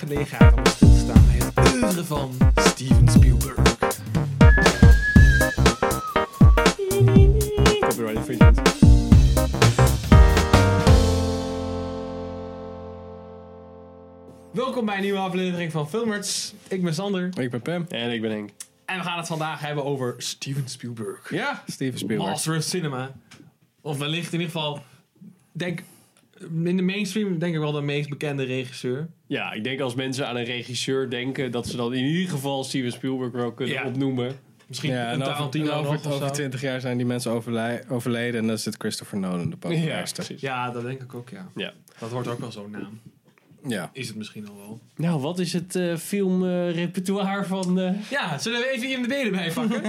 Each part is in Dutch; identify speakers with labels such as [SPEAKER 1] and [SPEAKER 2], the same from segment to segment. [SPEAKER 1] gelegen aan om stil te staan bij het oeuvre van Steven Spielberg. Copyright infringement. Welkom bij een nieuwe aflevering van Filmerts. Ik ben Sander
[SPEAKER 2] Ik ben Pam.
[SPEAKER 3] En ik ben Henk.
[SPEAKER 1] en we gaan het vandaag hebben over Steven Spielberg.
[SPEAKER 2] Ja, Steven Spielberg.
[SPEAKER 1] Master of Cinema. Of wellicht in ieder geval, denk, in de mainstream denk ik wel de meest bekende regisseur.
[SPEAKER 3] Ja, ik denk als mensen aan een regisseur denken, dat ze dan in ieder geval Steven Spielberg wel kunnen
[SPEAKER 1] Ja.
[SPEAKER 3] opnoemen.
[SPEAKER 1] Misschien
[SPEAKER 2] Ja,
[SPEAKER 1] een
[SPEAKER 2] en over,
[SPEAKER 1] Tarantino
[SPEAKER 2] en
[SPEAKER 1] nog of
[SPEAKER 2] over,
[SPEAKER 1] zo.
[SPEAKER 2] over 20 jaar zijn die mensen overlij- overleden en dan zit Christopher Nolan de populairste. Ja,
[SPEAKER 3] precies.
[SPEAKER 1] Ja, dat denk ik ook, ja.
[SPEAKER 3] Ja.
[SPEAKER 1] Dat wordt ook wel zo'n naam.
[SPEAKER 2] ja.
[SPEAKER 1] Is het misschien al wel.
[SPEAKER 3] Nou, wat is het filmrepertoire van... eh,
[SPEAKER 1] Ja, zullen we even IMDb erbij pakken?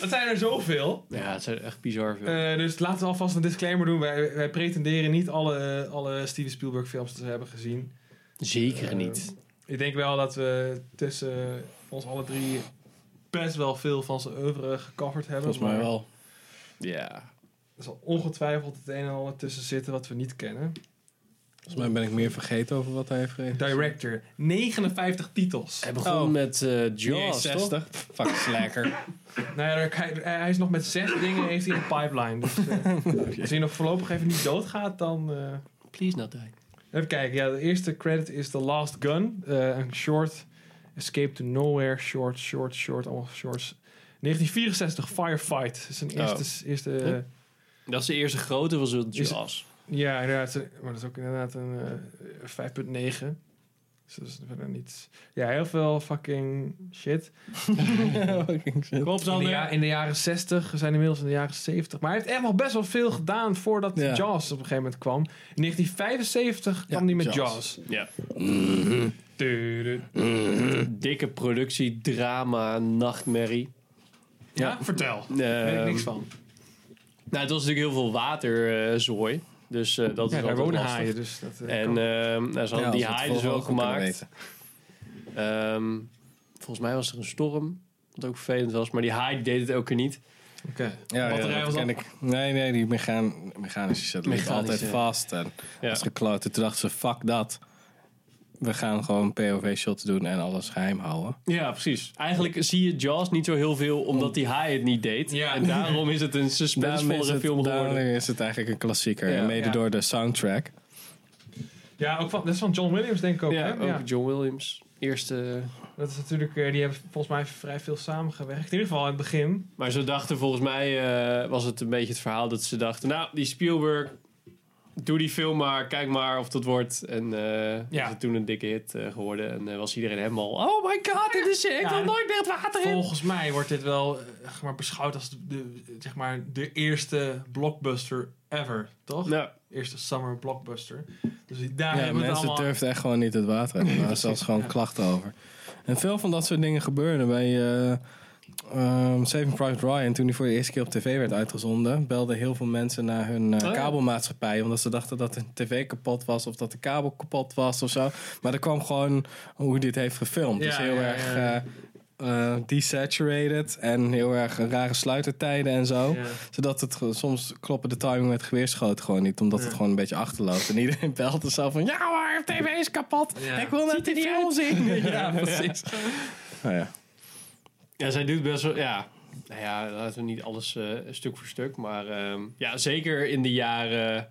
[SPEAKER 1] Dat zijn er zoveel.
[SPEAKER 3] Ja, het zijn echt bizar veel.
[SPEAKER 1] Eh, dus laten we alvast een disclaimer doen. Wij, wij pretenderen niet alle, alle Steven Spielberg films te hebben gezien.
[SPEAKER 3] Zeker
[SPEAKER 1] eh,
[SPEAKER 3] niet.
[SPEAKER 1] Ik denk wel dat we tussen ons alle drie best wel veel van zijn oeuvre gecoverd hebben.
[SPEAKER 2] volgens mij
[SPEAKER 1] maar
[SPEAKER 2] wel.
[SPEAKER 3] Ja.
[SPEAKER 1] Er zal ongetwijfeld het een en ander tussen zitten wat we niet kennen.
[SPEAKER 2] Volgens mij ben ik meer vergeten over wat hij heeft gereden.
[SPEAKER 1] Director, 59 titels.
[SPEAKER 3] Hij begon
[SPEAKER 2] Oh.
[SPEAKER 3] met eh Jaws, toch?
[SPEAKER 2] Fuck, is lekker.
[SPEAKER 1] Nou ja, daar- hij, hij is nog met zes dingen heeft hij een pipeline. Dus eh, als hij nog voorlopig even niet doodgaat, dan... eh,
[SPEAKER 3] Please not die.
[SPEAKER 1] Even kijken, ja, de eerste credit is The Last Gun. eh, een short, Escape to Nowhere, short, short, short, allemaal shorts. 1964, Firefight. Dat is zijn
[SPEAKER 3] Oh.
[SPEAKER 1] eerste... eerste
[SPEAKER 3] Huh? Dat is de eerste grote, was het
[SPEAKER 1] Is-
[SPEAKER 3] Jaws.
[SPEAKER 1] ja, inderdaad. zijn- Maar dat is ook inderdaad een eh, 5.9. Dus dat is verder niets. Ja, heel veel fucking shit.
[SPEAKER 2] Fucking shit.
[SPEAKER 3] Klopt
[SPEAKER 1] In de, ja- in de jaren 60, we zijn inmiddels in de jaren 70. Maar hij heeft echt wel best wel veel gedaan voordat
[SPEAKER 2] Ja.
[SPEAKER 1] Jaws op een gegeven moment kwam. In 1975 kwam
[SPEAKER 2] Ja,
[SPEAKER 1] hij met
[SPEAKER 2] Jaws.
[SPEAKER 1] Jaws.
[SPEAKER 3] Ja.
[SPEAKER 1] Tudu.
[SPEAKER 3] Dikke productie, drama, nachtmerrie. Ehm,
[SPEAKER 1] Ja, vertel. Daar weet ik niks van.
[SPEAKER 3] Nou, het was natuurlijk heel veel waterzooi. dus eh, dat
[SPEAKER 1] Ja,
[SPEAKER 3] is
[SPEAKER 1] daar
[SPEAKER 3] altijd
[SPEAKER 1] wonen
[SPEAKER 3] lastig.
[SPEAKER 1] haaien, dus dat eh,
[SPEAKER 3] En
[SPEAKER 1] kan.
[SPEAKER 3] ehm, nou, ze hadden die haaien dus wel gemaakt. Ehm, volgens mij was er een storm. Wat ook vervelend was. Maar die haai deed het elke keer niet.
[SPEAKER 1] Oké.
[SPEAKER 2] Ja, ja,
[SPEAKER 1] Batterij
[SPEAKER 2] dat
[SPEAKER 1] was
[SPEAKER 2] ken
[SPEAKER 1] op.
[SPEAKER 2] ik. Nee, nee, die mechan mechanische shit ligt
[SPEAKER 3] Mechanische.
[SPEAKER 2] altijd vast. En
[SPEAKER 3] Ja.
[SPEAKER 2] was gekloten. Toen dachten ze, fuck dat. We gaan gewoon POV-shots doen en alles geheim houden.
[SPEAKER 3] Ja, precies. Eigenlijk zie je Jaws niet zo heel veel omdat die haai het niet deed.
[SPEAKER 1] Ja.
[SPEAKER 3] En daarom is het een suspensevollere film
[SPEAKER 2] daarom
[SPEAKER 3] geworden.
[SPEAKER 2] is het eigenlijk een klassieker.
[SPEAKER 3] Ja.
[SPEAKER 2] en mede
[SPEAKER 1] Ja.
[SPEAKER 2] door de soundtrack.
[SPEAKER 1] Ja, ook van, dat is van John Williams denk ik ook.
[SPEAKER 3] Ja,
[SPEAKER 1] hè?
[SPEAKER 3] ook
[SPEAKER 1] Ja.
[SPEAKER 3] John Williams. Eerste.
[SPEAKER 1] Dat is natuurlijk, eh, die hebben volgens mij vrij veel samengewerkt. In ieder geval in het begin.
[SPEAKER 3] Maar ze dachten, volgens mij eh, was het een beetje het verhaal dat ze dachten: Nou, die Spielberg, doe die film maar, kijk maar of dat wordt. En eh
[SPEAKER 1] Ja.
[SPEAKER 3] is het toen een dikke hit eh, geworden. En eh, was iedereen helemaal: Oh my god, dit is, ik
[SPEAKER 1] Ja,
[SPEAKER 3] wil
[SPEAKER 1] en
[SPEAKER 3] nooit meer het water in.
[SPEAKER 1] Volgens mij wordt dit wel eh, zeg maar, beschouwd als de, de- zeg maar, de eerste blockbuster ever, toch?
[SPEAKER 3] Nou,
[SPEAKER 1] Eerste summer blockbuster. Dus daar
[SPEAKER 2] Ja,
[SPEAKER 1] hebben we het
[SPEAKER 2] mensen
[SPEAKER 1] allemaal...
[SPEAKER 2] durfden echt gewoon niet het water in. Daar was zelfs gewoon
[SPEAKER 1] ja.
[SPEAKER 2] klachten over. En veel van dat soort dingen gebeurden bij eh, ehm, Saving Private Ryan. Toen hij voor de eerste keer op tv werd uitgezonden, belden heel veel mensen naar hun eh,
[SPEAKER 1] Oh
[SPEAKER 3] ja.
[SPEAKER 2] kabelmaatschappij. Omdat ze dachten dat de tv kapot was of dat de kabel kapot was of zo. Maar er kwam gewoon hoe dit heeft gefilmd.
[SPEAKER 1] Ja,
[SPEAKER 2] dus heel
[SPEAKER 1] ja, ja,
[SPEAKER 2] erg
[SPEAKER 1] ja.
[SPEAKER 2] eh, eh, desaturated en heel erg rare sluitertijden en zo.
[SPEAKER 1] Ja.
[SPEAKER 2] Zodat het ge- soms kloppen de timing met geweerschoten gewoon niet. Omdat
[SPEAKER 1] Ja.
[SPEAKER 2] het gewoon een beetje achterloopt. En iedereen belt er zo van... Ja hoor, tv is kapot.
[SPEAKER 1] Ja.
[SPEAKER 2] Ik wil net die film zien. ja, precies. Nou ja.
[SPEAKER 3] Ja, zij doet best wel. Ja, nou ja, laten we niet alles eh, stuk voor stuk. Maar ehm, ja, zeker in de jaren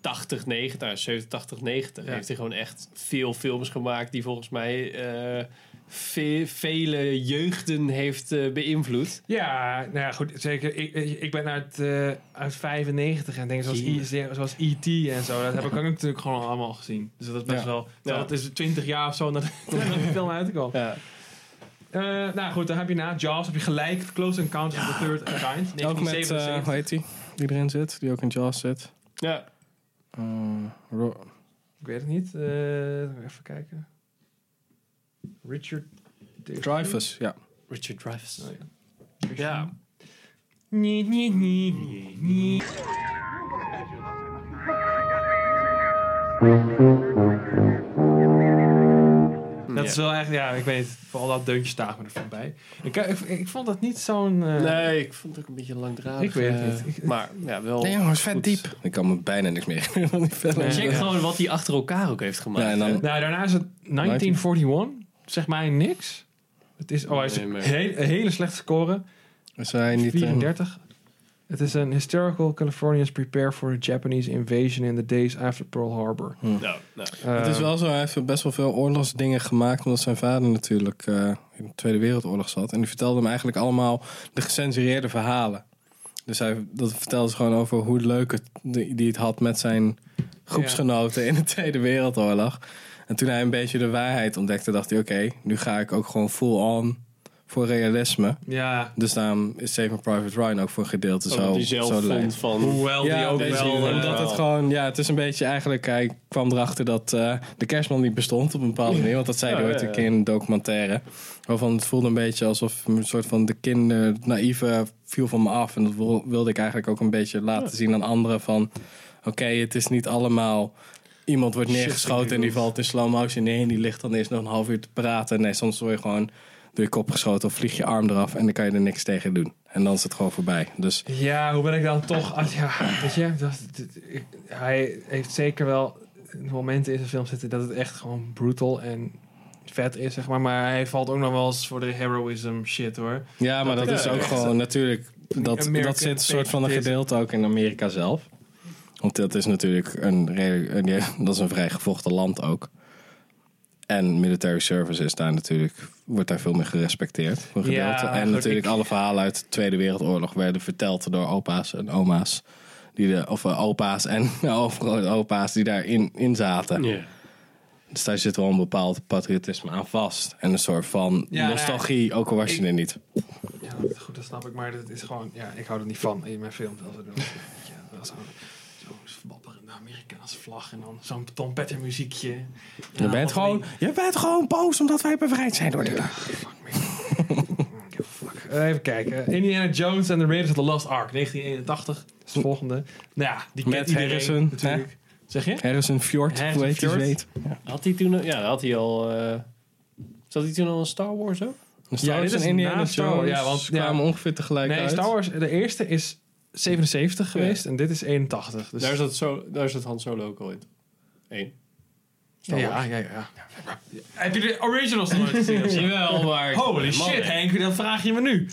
[SPEAKER 3] 80, 90, eh, 70, 80, 90
[SPEAKER 1] Ja.
[SPEAKER 3] heeft hij gewoon echt veel films gemaakt die volgens mij eh, ve- vele jeugden heeft eh, beïnvloed.
[SPEAKER 1] Ja, nou ja, goed, zeker. Ik, ik ik ben uit, eh, uit 95 en denk zoals, I, zoals E.T. en zo. Dat heb ik ook natuurlijk gewoon allemaal gezien. Dus dat is best
[SPEAKER 2] Ja.
[SPEAKER 1] wel... terwijl
[SPEAKER 3] Ja.
[SPEAKER 1] Dat is 20 jaar of zo nadat nadat die film uitkwam.
[SPEAKER 3] Ja.
[SPEAKER 1] Eh nou goed, dan heb je na Jaws heb je gelijk Close Encounters of the Third Kind.
[SPEAKER 2] Ook met, eh,
[SPEAKER 1] 1977.
[SPEAKER 2] hoe heet die? Die erin zit. Die ook in Jaws zit.
[SPEAKER 3] ja.
[SPEAKER 2] Eh, Ro-
[SPEAKER 1] ik weet het niet. Eh, even kijken. Richard...
[SPEAKER 2] Dreyfus, ja.
[SPEAKER 3] Richard Dreyfuss.
[SPEAKER 1] Oh, ja.
[SPEAKER 3] Ja.
[SPEAKER 1] Nee, nee, nee, nee, nee. Dat
[SPEAKER 3] Ja.
[SPEAKER 1] is wel echt, ja, ik weet het. Vooral dat deuntje staat me ervan bij. Ik, eh, ik, ik vond dat niet zo'n... eh,
[SPEAKER 3] Nee, ik vond het ook een beetje langdradig.
[SPEAKER 1] Ik weet het
[SPEAKER 3] eh,
[SPEAKER 1] niet. Ik-
[SPEAKER 3] maar ja, wel.
[SPEAKER 2] Nee jongens, vet
[SPEAKER 3] goed.
[SPEAKER 2] diep. Ik kan me bijna niks meer herinneren van die film.
[SPEAKER 1] Nee.
[SPEAKER 3] Check gewoon wat hij achter elkaar ook heeft gemaakt.
[SPEAKER 2] Ja, en dan-
[SPEAKER 3] hè.
[SPEAKER 1] Nou, daarna is het 1941. Zeg mij niks. Het is, oh, hij is
[SPEAKER 3] Nee, maar-
[SPEAKER 1] een hele, een hele slechte score.
[SPEAKER 2] Is hij niet... eh,
[SPEAKER 1] 34. Het is een historical Californians prepare for a Japanese invasion in the days after Pearl Harbor.
[SPEAKER 3] Nou, nou.
[SPEAKER 2] het is
[SPEAKER 1] Ehm,
[SPEAKER 2] wel zo, hij heeft best wel veel oorlogsdingen gemaakt. Omdat zijn vader natuurlijk eh, in de Tweede Wereldoorlog zat. En die vertelde hem eigenlijk allemaal de gecensureerde verhalen. Dus hij dat vertelde ze gewoon over hoe leuk het, die die het had met zijn groepsgenoten in de Tweede Wereldoorlog. En toen hij een beetje de waarheid ontdekte, dacht hij: oké, nu ga ik ook gewoon full on voor realisme.
[SPEAKER 1] Ja,
[SPEAKER 2] Dus daarom is Saving Private Ryan ook voor een gedeelte
[SPEAKER 3] Wat
[SPEAKER 2] zo,
[SPEAKER 3] hij Oh, zelf
[SPEAKER 2] zo
[SPEAKER 3] vond
[SPEAKER 2] lijkt.
[SPEAKER 3] van.
[SPEAKER 1] hoewel die ook
[SPEAKER 3] deze
[SPEAKER 1] wel...
[SPEAKER 3] hier,
[SPEAKER 1] eh,
[SPEAKER 2] Omdat het gewoon, ja, het is een beetje eigenlijk, hij kwam erachter dat eh, de kerstman niet bestond op een bepaalde manier. Want dat zei hij
[SPEAKER 3] Ja,
[SPEAKER 2] ooit
[SPEAKER 3] ja,
[SPEAKER 2] een
[SPEAKER 3] ja.
[SPEAKER 2] keer in een documentaire. Waarvan het voelde een beetje alsof een soort van de kinder, het naïeve viel van me af. En dat wil- wilde ik eigenlijk ook een beetje laten zien aan anderen van, oké, het is niet allemaal... Iemand wordt
[SPEAKER 1] Shit,
[SPEAKER 2] neergeschoten en die
[SPEAKER 1] inderdaad.
[SPEAKER 2] valt in slow motion neer. En die ligt dan eerst nog een half uur te praten. Nee, soms word je gewoon door je kop geschoten of vlieg je arm eraf. En dan kan je er niks tegen doen. En dan is het gewoon voorbij. Dus
[SPEAKER 1] Ja, hoe ben ik dan toch... ah, ja, weet je, dat, dat- ik- hij heeft zeker wel momenten in zijn film zitten dat het echt gewoon brutal en vet is, zeg maar. Maar hij valt ook nog wel eens voor de heroism shit, hoor.
[SPEAKER 2] Ja, maar dat,
[SPEAKER 1] Dat
[SPEAKER 3] is
[SPEAKER 2] is ook
[SPEAKER 3] echt,
[SPEAKER 2] gewoon natuurlijk. Dat,
[SPEAKER 1] American
[SPEAKER 2] dat zit een soort van een
[SPEAKER 1] patriotism.
[SPEAKER 2] gedeelte ook in Amerika zelf. Want dat is natuurlijk een, redelijk- een ja, dat is een vrij gevochten land ook. En military service is daar natuurlijk, wordt daar veel meer gerespecteerd. Voor een
[SPEAKER 1] Ja,
[SPEAKER 2] gedeelte. en
[SPEAKER 1] goed,
[SPEAKER 2] natuurlijk
[SPEAKER 1] ik-
[SPEAKER 2] alle verhalen uit de Tweede Wereldoorlog werden verteld door opa's en oma's. Die de, of eh, opa's en opa's die daarin in zaten.
[SPEAKER 3] Ja.
[SPEAKER 2] Dus daar zit wel een bepaald patriotisme aan vast. En een soort van
[SPEAKER 1] Ja, nou ja,
[SPEAKER 2] nostalgie, ook al was je
[SPEAKER 1] ik-
[SPEAKER 2] er niet.
[SPEAKER 1] Ja, dat- goed, dat snap ik. Maar dat is gewoon... Ja, ik hou er niet van in mijn film. Dat is ja, dat is gewoon zo'n wapperende Amerikaanse vlag en dan zo'n Tom Petty muziekje. En
[SPEAKER 2] Je
[SPEAKER 1] dan
[SPEAKER 2] bent,
[SPEAKER 1] van die-
[SPEAKER 2] gewoon, je bent gewoon boos omdat wij bevrijd zijn door de
[SPEAKER 1] Fuck me. Ik heb- fuck. Eh, Even kijken. Eh, Indiana Jones and the Raiders of the Lost Ark, 1981. Dat is de volgende. Nou ja, die
[SPEAKER 2] Met
[SPEAKER 1] kent iedereen
[SPEAKER 2] Harrison,
[SPEAKER 1] natuurlijk. Zeg je?
[SPEAKER 2] Harrison Fjord,
[SPEAKER 1] Harrison
[SPEAKER 2] hoe heet die
[SPEAKER 1] Fjord.
[SPEAKER 2] zweet?
[SPEAKER 3] Had hij toen. Ja, had hij al. eh, zat hij toen al in Star Wars ook?
[SPEAKER 1] Star Wars en Indiana Jones kwamen
[SPEAKER 2] kwamen ongeveer tegelijk
[SPEAKER 1] Nee, Star Wars, de eerste is 77 geweest en dit is 81. Dus
[SPEAKER 3] Daar zat, zo, daar zat Han Solo ook al in. Eén. Star
[SPEAKER 1] ja,
[SPEAKER 3] Wars.
[SPEAKER 1] ja, ja, ja. Heb je de originals nog nooit gezien? of zo?
[SPEAKER 3] Jawel, maar...
[SPEAKER 1] Holy
[SPEAKER 3] Man,
[SPEAKER 1] shit,
[SPEAKER 3] hè.
[SPEAKER 1] Henk, dat vraag je me nu.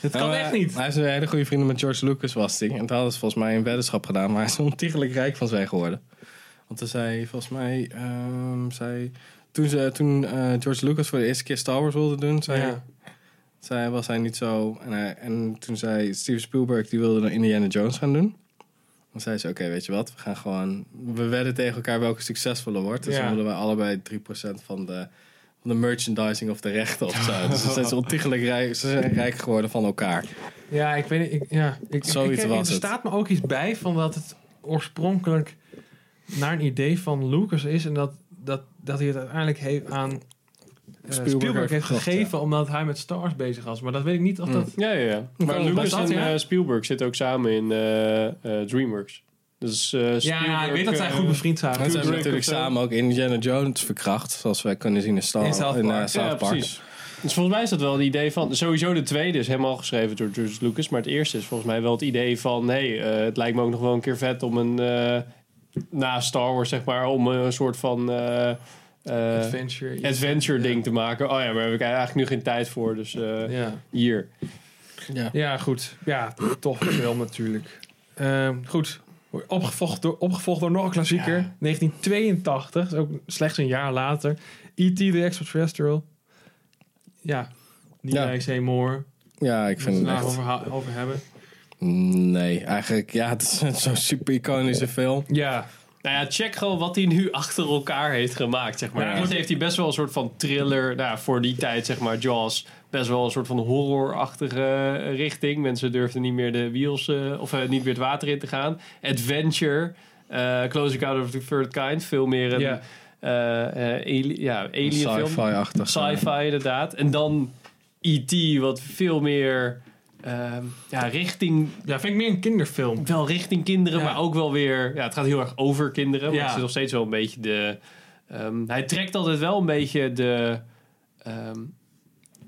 [SPEAKER 1] Dat kan echt niet.
[SPEAKER 2] Eh, Hij is een hele goede vriend met George Lucas, was hij. En toen hadden ze volgens mij een weddenschap gedaan, maar hij is er ontiegelijk rijk van zijn geworden. Want toen zei, volgens mij, ehm, zei, toen, ze, toen eh, George Lucas voor de eerste keer Star Wars wilde doen, zei,
[SPEAKER 1] Ja.
[SPEAKER 2] zei, was hij niet zo. En, hij- en toen zei Steven Spielberg, die wilde dan Indiana Jones gaan doen. Dan zei ze, oké, weet je wat, we gaan gewoon... We wedden tegen elkaar welke succesvoller wordt. Dus
[SPEAKER 1] Ja.
[SPEAKER 2] dan willen wij allebei 3% van de, van de merchandising of de rechten of zo. dus ze zijn zo ontiegelijk rijk, ze zijn rijk geworden van elkaar.
[SPEAKER 1] Ja, ik weet niet. Ik, ja, ik,
[SPEAKER 2] Zoiets
[SPEAKER 1] ik, ik-
[SPEAKER 2] was
[SPEAKER 1] Er
[SPEAKER 2] het.
[SPEAKER 1] staat me ook iets bij van dat het oorspronkelijk naar een idee van Lucas is. En dat, dat, dat hij het uiteindelijk heeft aan eh, Spielberg, heeft
[SPEAKER 2] gekocht,
[SPEAKER 1] gegeven. Omdat hij met Stars bezig was. Maar dat weet ik niet of
[SPEAKER 2] Mm.
[SPEAKER 1] dat...
[SPEAKER 3] Ja, ja, ja.
[SPEAKER 2] kan
[SPEAKER 3] Maar
[SPEAKER 2] het
[SPEAKER 3] Lucas
[SPEAKER 1] best
[SPEAKER 3] en
[SPEAKER 1] dat, ja?
[SPEAKER 3] eh, Spielberg zitten ook samen in eh, eh, DreamWorks. Dus,
[SPEAKER 1] ja,
[SPEAKER 3] eh, Spielberg,
[SPEAKER 1] ik weet dat zij
[SPEAKER 3] eh,
[SPEAKER 1] goed bevriend zijn.
[SPEAKER 2] En ze hebben
[SPEAKER 3] Kubrick
[SPEAKER 2] natuurlijk
[SPEAKER 3] of zo.
[SPEAKER 2] samen ook Indiana Jones verkracht. Zoals wij kunnen zien in Star
[SPEAKER 1] In South
[SPEAKER 2] in, eh,
[SPEAKER 1] Park.
[SPEAKER 2] South
[SPEAKER 3] Ja,
[SPEAKER 2] Park.
[SPEAKER 3] precies. Dus volgens mij is dat wel het idee van... Sowieso de tweede is helemaal geschreven door George Lucas. Maar het eerste is volgens mij wel het idee van... Hé, hey, eh, het lijkt me ook nog wel een keer vet om een... eh, na Star Wars, zeg maar, om een soort van... eh, eh,
[SPEAKER 1] Adventure. iets.
[SPEAKER 3] adventure
[SPEAKER 1] Ja.
[SPEAKER 3] ding te maken. Oh ja, maar daar heb ik eigenlijk nu geen tijd voor. Dus eh,
[SPEAKER 1] Ja.
[SPEAKER 3] hier.
[SPEAKER 2] Ja.
[SPEAKER 1] ja, goed. Ja, tof film natuurlijk. Ehm, goed. Opgevolgd door, opgevolgd door nog een klassieker.
[SPEAKER 3] Ja.
[SPEAKER 1] 1982. dus ook slechts een jaar later. E.T. The Extraterrestrial. Ja. Niet
[SPEAKER 2] Ja.
[SPEAKER 1] ja. Moore.
[SPEAKER 2] Ja, ik vind het
[SPEAKER 1] Daar
[SPEAKER 2] echt...
[SPEAKER 1] over, ha- over hebben.
[SPEAKER 2] Nee, eigenlijk... Ja, het is zo'n super iconische film.
[SPEAKER 1] Ja.
[SPEAKER 3] Nou ja, check gewoon wat hij nu achter elkaar heeft gemaakt, zeg maar.
[SPEAKER 1] Ja.
[SPEAKER 3] Eerst heeft hij best wel een soort van thriller, nou ja, voor die tijd, zeg maar, Jaws. Best wel een soort van horrorachtige eh, richting. Mensen durfden niet meer de wiels, eh, of eh, niet meer het water in te gaan. Adventure, eh Close Encounter of the Third Kind, veel meer een
[SPEAKER 1] ja.
[SPEAKER 3] eh, eh, ali- ja, alien film.
[SPEAKER 2] Sci-fi-achtig.
[SPEAKER 3] Sci-fi, inderdaad. En dan E.T., wat veel meer ehm, ja, richting
[SPEAKER 1] ja, vind ik meer een kinderfilm.
[SPEAKER 3] wel richting kinderen,
[SPEAKER 1] Ja.
[SPEAKER 3] maar ook wel weer. Ja, het gaat heel erg over kinderen. Maar
[SPEAKER 1] Ja.
[SPEAKER 3] het is nog steeds wel een beetje de. eh, Ehm, hij trekt altijd wel een beetje de. ehm,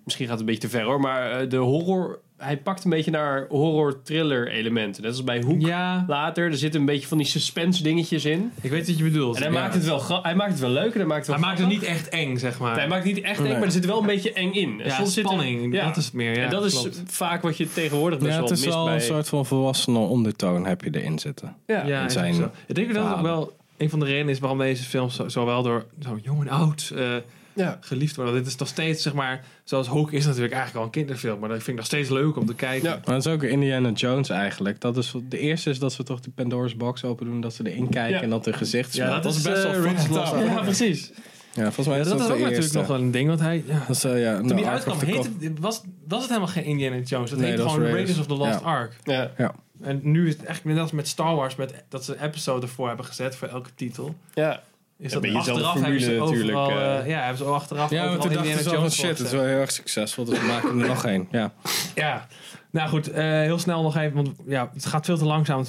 [SPEAKER 3] misschien gaat het een beetje te ver hoor, maar eh, de horror. Hij pakt een beetje naar horror-thriller elementen. Net als bij Hoek
[SPEAKER 1] Ja,
[SPEAKER 3] later. Er zitten een beetje van die suspense dingetjes in.
[SPEAKER 1] ik weet wat je bedoelt.
[SPEAKER 3] En hij,
[SPEAKER 1] Ja.
[SPEAKER 3] maakt het wel gra- hij maakt het wel leuk en hij maakt het
[SPEAKER 1] Hij
[SPEAKER 3] wel
[SPEAKER 1] maakt het
[SPEAKER 3] grappig.
[SPEAKER 1] niet echt eng, zeg maar.
[SPEAKER 3] Hij maakt het niet echt eng,
[SPEAKER 2] Nee.
[SPEAKER 3] maar er zit wel een beetje eng in. En
[SPEAKER 1] ja,
[SPEAKER 3] soms zit er-
[SPEAKER 1] spanning,
[SPEAKER 3] ja.
[SPEAKER 1] dat is het meer. Ja,
[SPEAKER 3] en dat is
[SPEAKER 1] klopt.
[SPEAKER 3] vaak wat je tegenwoordig best
[SPEAKER 2] Ja,
[SPEAKER 3] wel
[SPEAKER 2] het
[SPEAKER 3] mist
[SPEAKER 2] is al
[SPEAKER 3] bij...
[SPEAKER 2] een soort van volwassene ondertoon heb je erin zitten.
[SPEAKER 3] ja.
[SPEAKER 1] Ja,
[SPEAKER 2] het
[SPEAKER 1] ik denk
[SPEAKER 2] zijn
[SPEAKER 1] zo. Ik denk dat dat ook wel een van de redenen is waarom deze films zo- zowel door zo jong en oud eh,
[SPEAKER 3] Ja.
[SPEAKER 1] geliefd worden. Dit is nog steeds, zeg maar, zoals Hook is natuurlijk eigenlijk al een kinderfilm, maar dat vind ik nog steeds leuk om te kijken.
[SPEAKER 3] Ja.
[SPEAKER 2] Maar dat is ook Indiana Jones eigenlijk. Dat is, de eerste is dat ze toch die Pandora's box open doen, dat ze erin kijken
[SPEAKER 3] Ja.
[SPEAKER 2] en dat hun gezicht
[SPEAKER 1] Ja,
[SPEAKER 2] smelt.
[SPEAKER 1] dat is eh, best wel
[SPEAKER 2] fucking
[SPEAKER 1] Ridge
[SPEAKER 2] lastig.
[SPEAKER 1] Tower.
[SPEAKER 3] Ja, precies.
[SPEAKER 2] Ja, volgens mij
[SPEAKER 1] Ja,
[SPEAKER 2] is
[SPEAKER 1] dat
[SPEAKER 2] dat,
[SPEAKER 1] is
[SPEAKER 2] de
[SPEAKER 1] ook
[SPEAKER 2] eerste.
[SPEAKER 1] natuurlijk nog wel een ding, want hij... Ja.
[SPEAKER 2] Dat is, eh, ja,
[SPEAKER 1] Toen
[SPEAKER 2] nou,
[SPEAKER 1] die
[SPEAKER 2] Ark of
[SPEAKER 1] uitkwam,
[SPEAKER 2] the
[SPEAKER 1] heette,
[SPEAKER 2] Covenant.
[SPEAKER 1] het- was, was het helemaal geen Indiana Jones. Dat
[SPEAKER 2] Nee,
[SPEAKER 1] heette
[SPEAKER 2] dat was
[SPEAKER 1] gewoon Raiders.
[SPEAKER 2] Raiders.
[SPEAKER 1] of the Lost Ark.
[SPEAKER 3] Ja.
[SPEAKER 1] En nu is het eigenlijk net als met Star Wars, met, dat ze een episode ervoor hebben gezet voor elke titel.
[SPEAKER 3] ja.
[SPEAKER 1] Is
[SPEAKER 3] Ja,
[SPEAKER 1] dat
[SPEAKER 3] bij jezelf
[SPEAKER 1] achteraf hebben ze
[SPEAKER 3] formule
[SPEAKER 1] overal,
[SPEAKER 3] natuurlijk,
[SPEAKER 1] eh, ja, hebben ze achteraf
[SPEAKER 2] Ja, want
[SPEAKER 1] overal
[SPEAKER 2] toen
[SPEAKER 1] Indiana
[SPEAKER 2] dachten ze al van
[SPEAKER 1] Jones
[SPEAKER 2] shit, het
[SPEAKER 1] voor
[SPEAKER 2] is wel heel erg succesvol, dus we maken er nog één. Ja.
[SPEAKER 1] gezet. Ja, nou goed, eh, heel snel nog even, want ja, het gaat veel te langzaam. Het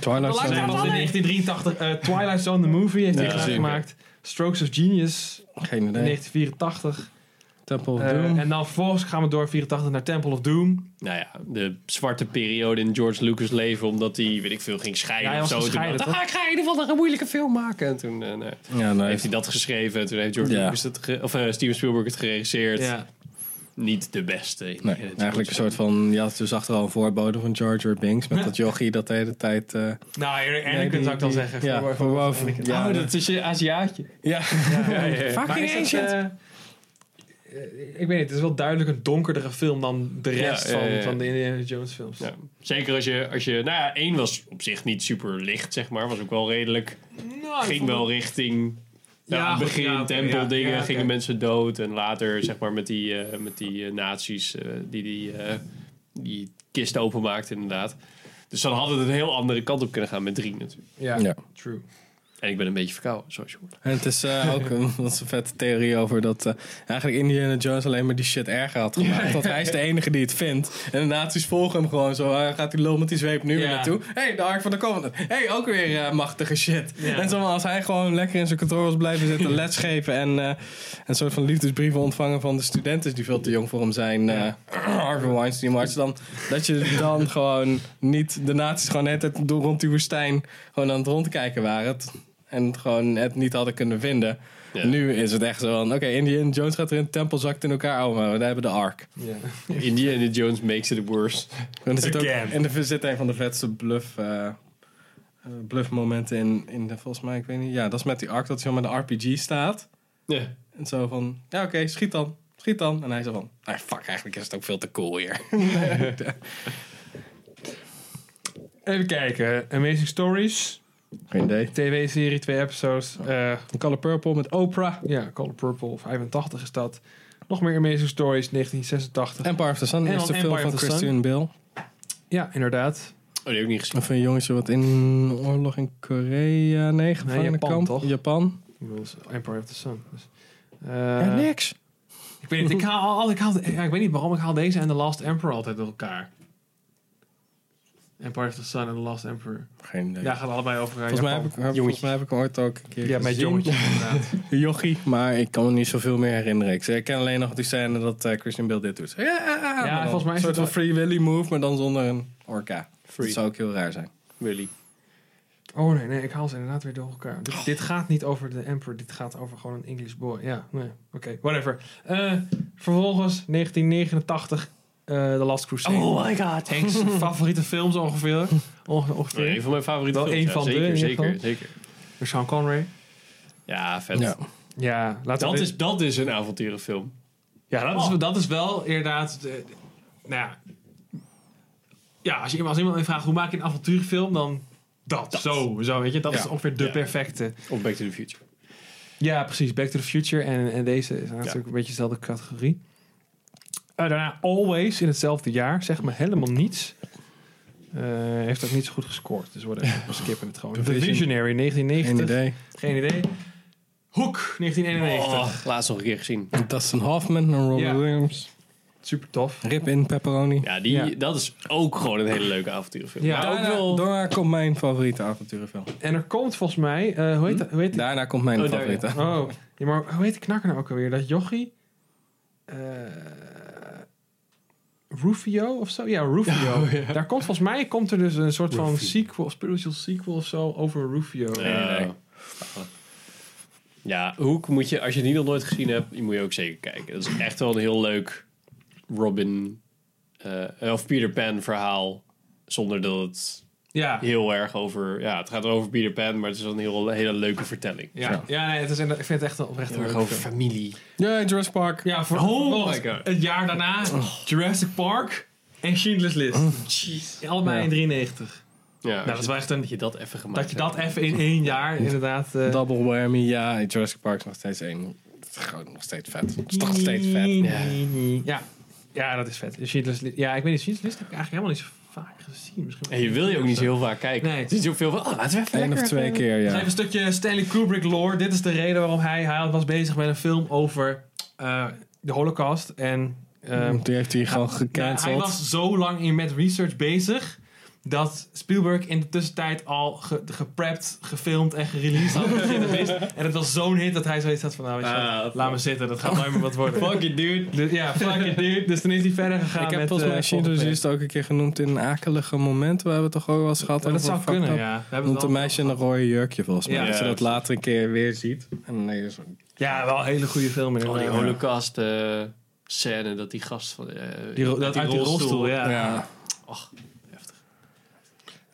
[SPEAKER 2] Twilight
[SPEAKER 1] Zijn
[SPEAKER 2] Zone,
[SPEAKER 1] pas in 1983 eh, Twilight Zone, the movie, heeft hij
[SPEAKER 3] Ja.
[SPEAKER 1] gezien gemaakt. Strokes of Genius
[SPEAKER 2] geen
[SPEAKER 1] in
[SPEAKER 2] idee.
[SPEAKER 1] 1984.
[SPEAKER 2] Temple of
[SPEAKER 1] Eh,
[SPEAKER 2] Doom.
[SPEAKER 1] en dan vervolgens gaan we door 84 naar Temple of Doom.
[SPEAKER 3] Nou ja, de zwarte periode in George Lucas' leven, omdat hij, weet ik veel, ging scheiden
[SPEAKER 1] Ja, hij
[SPEAKER 3] of
[SPEAKER 1] was
[SPEAKER 3] zo. Toen
[SPEAKER 1] gescheiden,
[SPEAKER 3] dacht hij, ah, ik ga in ieder geval nog een moeilijke film maken. En toen eh, nee.
[SPEAKER 2] Ja, nee.
[SPEAKER 3] heeft hij dat geschreven. En toen heeft George
[SPEAKER 2] Ja.
[SPEAKER 3] Lucas het ge- of eh, Steven Spielberg het geregisseerd.
[SPEAKER 1] Ja.
[SPEAKER 3] Niet de beste. in-
[SPEAKER 2] Nee,
[SPEAKER 3] in het-
[SPEAKER 2] eigenlijk een soort van... Je had dus achteral een voorbode van George R. Binks... met dat jochie dat de hele tijd... eh,
[SPEAKER 1] Nou, Anakin
[SPEAKER 2] Nee, die-
[SPEAKER 1] zou ik dan
[SPEAKER 2] die-
[SPEAKER 1] zeggen.
[SPEAKER 2] ja,
[SPEAKER 1] Voor-
[SPEAKER 2] voor boven.
[SPEAKER 1] Anakin.
[SPEAKER 2] Ja,
[SPEAKER 3] Oh, dat is een Aziatje.
[SPEAKER 2] ja.
[SPEAKER 3] Ja, ja, ja.
[SPEAKER 1] Maar is dat, eh, eh, ik weet niet, het is wel duidelijk een donkerdere film dan de
[SPEAKER 3] Ja,
[SPEAKER 1] rest
[SPEAKER 3] ja, ja, ja.
[SPEAKER 1] Van, van de Indiana Jones films.
[SPEAKER 3] Ja. Zeker als je, als je, nou ja, één was op zich niet super licht, zeg maar. Was ook wel redelijk.
[SPEAKER 1] Nou, ik
[SPEAKER 3] Ging
[SPEAKER 1] vond
[SPEAKER 3] wel richting,
[SPEAKER 1] Ja,
[SPEAKER 3] nou, aan het
[SPEAKER 1] goed,
[SPEAKER 3] begin,
[SPEAKER 1] ja, oké,
[SPEAKER 3] tempel
[SPEAKER 1] ja,
[SPEAKER 3] dingen,
[SPEAKER 1] ja, oké.
[SPEAKER 3] gingen mensen dood. En later, zeg maar, met die, eh, met die eh, nazi's eh, die die, eh, die kist openmaakten inderdaad. Dus dan had het een heel andere kant op kunnen gaan met drie natuurlijk.
[SPEAKER 1] het- Ja,
[SPEAKER 2] Ja.
[SPEAKER 1] true.
[SPEAKER 3] En ik ben een beetje verkouden, zoals je hoort.
[SPEAKER 2] En het is eh, ook een, dat is een vette theorie over dat eh, eigenlijk Indiana Jones alleen maar die shit erger had gemaakt. Want hij is de enige die het vindt. En de nazi's volgen hem gewoon zo. eh, gaat die lul met die zweep nu weer
[SPEAKER 1] Ja.
[SPEAKER 2] naartoe. Hé, hey, de Ark van de Covenant. Hé, hey, ook weer eh, machtige shit.
[SPEAKER 1] Ja.
[SPEAKER 2] En zo, maar als hij gewoon lekker in zijn kantoor was blijven zitten, les geven en eh, een soort van liefdesbrieven ontvangen van de studenten die veel te jong voor hem zijn. eh Harvey Weinstein, maar als je dan, dat je dan gewoon niet de nazi's gewoon net het, door rond die woestijn gewoon aan het rondkijken waren. Het- en het gewoon het niet hadden kunnen vinden.
[SPEAKER 3] Ja.
[SPEAKER 2] Nu is het echt zo van, oké, Indiana Jones gaat erin, de tempel zakt in elkaar, oh, maar we hebben de Ark.
[SPEAKER 1] Ja.
[SPEAKER 3] Indiana Jones makes it worse.
[SPEAKER 2] En er zit ook,
[SPEAKER 1] Again.
[SPEAKER 2] en er zit een van de vetste bluff, eh, eh, bluffmomenten in, in de, volgens mij, ik weet niet, ja, dat is met die Ark, dat hij zo met de RPG staat.
[SPEAKER 3] Ja.
[SPEAKER 2] En zo van, ja, oké, schiet dan, schiet dan. En hij zo van, ah, fuck, eigenlijk is het ook veel te cool hier.
[SPEAKER 1] Even kijken. Amazing Stories.
[SPEAKER 2] Geen idee.
[SPEAKER 1] TV-serie, twee episodes. Eh,
[SPEAKER 2] Color Purple met Oprah.
[SPEAKER 1] ja, Color Purple, 85 is dat. Nog meer Amazing Stories, 1986.
[SPEAKER 2] Empire of the Sun, de
[SPEAKER 1] En
[SPEAKER 2] eerste
[SPEAKER 1] dan
[SPEAKER 2] film
[SPEAKER 1] Empire
[SPEAKER 2] van
[SPEAKER 1] of the Sun.
[SPEAKER 2] Christian Bill.
[SPEAKER 1] Ja, inderdaad.
[SPEAKER 3] Oh, die heb ik niet gezien.
[SPEAKER 2] Of een jongetje wat in oorlog in Korea, nee, gevangenenkamp.
[SPEAKER 1] Japan, toch?
[SPEAKER 2] Japan.
[SPEAKER 1] Ik bedoel, het is Empire of the Sun. Dus, eh,
[SPEAKER 2] ja, niks.
[SPEAKER 1] ik weet niet, ik haal, al- ik, haal, ja, ik weet niet waarom, ik haal deze en The Last Emperor altijd door elkaar. Empire of the Sun en The Last Emperor.
[SPEAKER 2] Geen idee.
[SPEAKER 1] Ja, gaat allebei over eh,
[SPEAKER 2] volgens, mij heb
[SPEAKER 1] Japan.
[SPEAKER 2] ik, volgens mij heb ik hem ooit ook een keer
[SPEAKER 1] Ja,
[SPEAKER 2] gezien.
[SPEAKER 1] met jongetjes inderdaad.
[SPEAKER 2] Jochie, maar ik kan me niet zoveel meer herinneren. Ik- Ik ken alleen nog die scène dat eh, Christian Bill dit doet. Ja, maar dan
[SPEAKER 1] volgens mij is
[SPEAKER 2] Een soort
[SPEAKER 1] het
[SPEAKER 2] van Free Willy move, maar dan zonder een orka.
[SPEAKER 3] Free.
[SPEAKER 2] Dat zou ook heel raar zijn.
[SPEAKER 3] Willy.
[SPEAKER 1] Oh nee, nee, ik haal ze inderdaad weer door elkaar. Dit, dit gaat niet over de Emperor, dit gaat over gewoon een English boy. Ja, nee, oké, whatever. Eh, vervolgens 1989, eh The Last Crusade.
[SPEAKER 3] my god.
[SPEAKER 1] Hanks' favoriete films ongeveer. Onge- ongeveer.
[SPEAKER 3] een van mijn favoriete
[SPEAKER 1] Wel
[SPEAKER 3] films.
[SPEAKER 1] één
[SPEAKER 3] ja,
[SPEAKER 1] van de,
[SPEAKER 3] zeker,
[SPEAKER 1] in ieder
[SPEAKER 3] zeker,
[SPEAKER 1] geval.
[SPEAKER 3] zeker.
[SPEAKER 1] Door Sean Connery.
[SPEAKER 3] Ja, vet.
[SPEAKER 2] Ja.
[SPEAKER 1] Ja, laten we
[SPEAKER 3] Dat,
[SPEAKER 1] dit-
[SPEAKER 3] is, dat is een avonturenfilm.
[SPEAKER 1] ja dat, is, dat is wel inderdaad... eh, nou ja, ja als, je, als iemand me vraagt hoe maak je een avontuurfilm, dan dat. Zo, zo, weet je, dat
[SPEAKER 2] Ja.
[SPEAKER 1] is ongeveer de
[SPEAKER 3] Ja.
[SPEAKER 1] perfecte.
[SPEAKER 3] Of Back to the Future.
[SPEAKER 1] Ja, precies. Back to the Future en, en deze zijn natuurlijk een beetje dezelfde categorie. Eh, daarna Always in hetzelfde jaar. Zeg maar helemaal niets. Eh, heeft ook niet zo goed gescoord. Dus whatever. we skippen het gewoon.
[SPEAKER 2] The
[SPEAKER 1] The
[SPEAKER 2] Vision.
[SPEAKER 1] Visionary
[SPEAKER 2] Geen
[SPEAKER 1] 1990.
[SPEAKER 2] idee.
[SPEAKER 1] Geen idee. Hoek 1991.
[SPEAKER 3] Oh, laatst nog een keer gezien.
[SPEAKER 2] Dustin Hoffman en Robin
[SPEAKER 1] Ja.
[SPEAKER 2] Williams.
[SPEAKER 1] Super tof.
[SPEAKER 2] Rip in pepperoni.
[SPEAKER 3] Ja, die,
[SPEAKER 1] Ja.
[SPEAKER 3] dat is ook gewoon een hele leuke avonturenfilm.
[SPEAKER 1] Ja.
[SPEAKER 3] Maar ook
[SPEAKER 2] Daarna,
[SPEAKER 3] wel...
[SPEAKER 2] daarna komt mijn favoriete avonturenfilm.
[SPEAKER 1] En er komt volgens mij, eh,
[SPEAKER 2] Hm?
[SPEAKER 1] hoe heet dat? Hoe heet die-
[SPEAKER 2] Daarna komt mijn
[SPEAKER 3] Oh, daar,
[SPEAKER 2] favoriete.
[SPEAKER 1] Oh, ja, maar hoe heet de knakker nou ook alweer? Dat jochie? Eh, Rufio of zo? Ja, Rufio.
[SPEAKER 3] Oh, ja.
[SPEAKER 1] Daar komt volgens mij komt er dus een soort van
[SPEAKER 3] Rufio.
[SPEAKER 1] sequel, spiritual sequel of zo over Rufio.
[SPEAKER 3] Ja.
[SPEAKER 2] nee.
[SPEAKER 3] Eh, Ja, Hoek moet je, als je die nog nooit gezien hebt, die moet je ook zeker kijken. Dat is echt wel een heel leuk Robin eh, of Peter Pan verhaal. Zonder dat het
[SPEAKER 1] Ja.
[SPEAKER 3] heel erg over... Ja, het gaat wel over Peter Pan, maar het is wel een heel, hele leuke vertelling.
[SPEAKER 1] Ja, ja nee, het is, inderdaad- ik vind het echt een oprechte
[SPEAKER 3] Heel erg
[SPEAKER 1] leuke
[SPEAKER 3] over
[SPEAKER 1] film.
[SPEAKER 3] familie.
[SPEAKER 2] Ja, Jurassic Park.
[SPEAKER 1] Ja, voor
[SPEAKER 3] Oh my
[SPEAKER 1] het-
[SPEAKER 3] God.
[SPEAKER 1] het jaar daarna Jurassic Park en Schindler's List.
[SPEAKER 3] Oh.
[SPEAKER 1] Allebei
[SPEAKER 2] Ja.
[SPEAKER 1] in 93.
[SPEAKER 3] Ja,
[SPEAKER 1] Nou, dat is wel echt een...
[SPEAKER 3] dat je dat even gemaakt
[SPEAKER 1] Dat je
[SPEAKER 3] hebt.
[SPEAKER 1] dat even in één jaar inderdaad... eh,
[SPEAKER 2] Double whammy, ja. Jurassic Park is nog steeds één. Het is Gewoon nog steeds vet. Het is toch nog steeds vet.
[SPEAKER 1] Ja. ja. Ja, dat is vet. Schindler's List. Ja, ik weet niet, Schindler's List heb ik eigenlijk helemaal niet zo vaak gezien. Misschien
[SPEAKER 3] En je wil je ook niet zo heel vaak kijken.
[SPEAKER 1] Nee.
[SPEAKER 3] Het is niet zoveel van, oh, laten we even
[SPEAKER 2] Eén of
[SPEAKER 3] lekker
[SPEAKER 2] twee
[SPEAKER 3] even-
[SPEAKER 2] keer,
[SPEAKER 1] Dus
[SPEAKER 2] ja.
[SPEAKER 1] even een stukje Stanley Kubrick lore. Dit is de reden waarom hij, hij was bezig met een film over eh, de holocaust. En ehm,
[SPEAKER 2] Die heeft hij gewoon
[SPEAKER 1] ja, hij
[SPEAKER 2] gecanceld.
[SPEAKER 1] was zo lang in met research bezig... dat Spielberg in de tussentijd al ge- geprept, gefilmd en gereleased had. en het was zo'n hit dat hij zoiets had van... Nou, weet je wat,
[SPEAKER 3] Ah, dat-
[SPEAKER 1] laat me zitten, dat gaat nooit meer wat worden.
[SPEAKER 3] Fuck it, dude.
[SPEAKER 1] Dus, ja, fuck it, dude. Dus toen is hij verder gegaan
[SPEAKER 2] Ik
[SPEAKER 1] met...
[SPEAKER 2] heb volgens mij
[SPEAKER 1] eh,
[SPEAKER 2] Schindler's
[SPEAKER 1] volgende
[SPEAKER 2] List ook een keer genoemd in een akelige moment. Waar we het toch ook wel eens gehad
[SPEAKER 1] Ja, dat
[SPEAKER 2] over
[SPEAKER 1] zou
[SPEAKER 2] fucked
[SPEAKER 1] kunnen,
[SPEAKER 2] up.
[SPEAKER 1] ja. We hebben het
[SPEAKER 2] Want een
[SPEAKER 1] wel-
[SPEAKER 2] meisje in een rode jurkje volgens mij.
[SPEAKER 1] Ja.
[SPEAKER 2] dat je
[SPEAKER 3] Ja,
[SPEAKER 2] dat later een keer weer ziet. En dan denk je zo,
[SPEAKER 1] Ja, wel een hele goede film
[SPEAKER 3] Oh,
[SPEAKER 1] inderdaad.
[SPEAKER 3] die holocaust eh, scène dat die gast van... eh,
[SPEAKER 1] Die ro- dat uit die rolstoel, ja.
[SPEAKER 2] ja.
[SPEAKER 3] Och, heftig.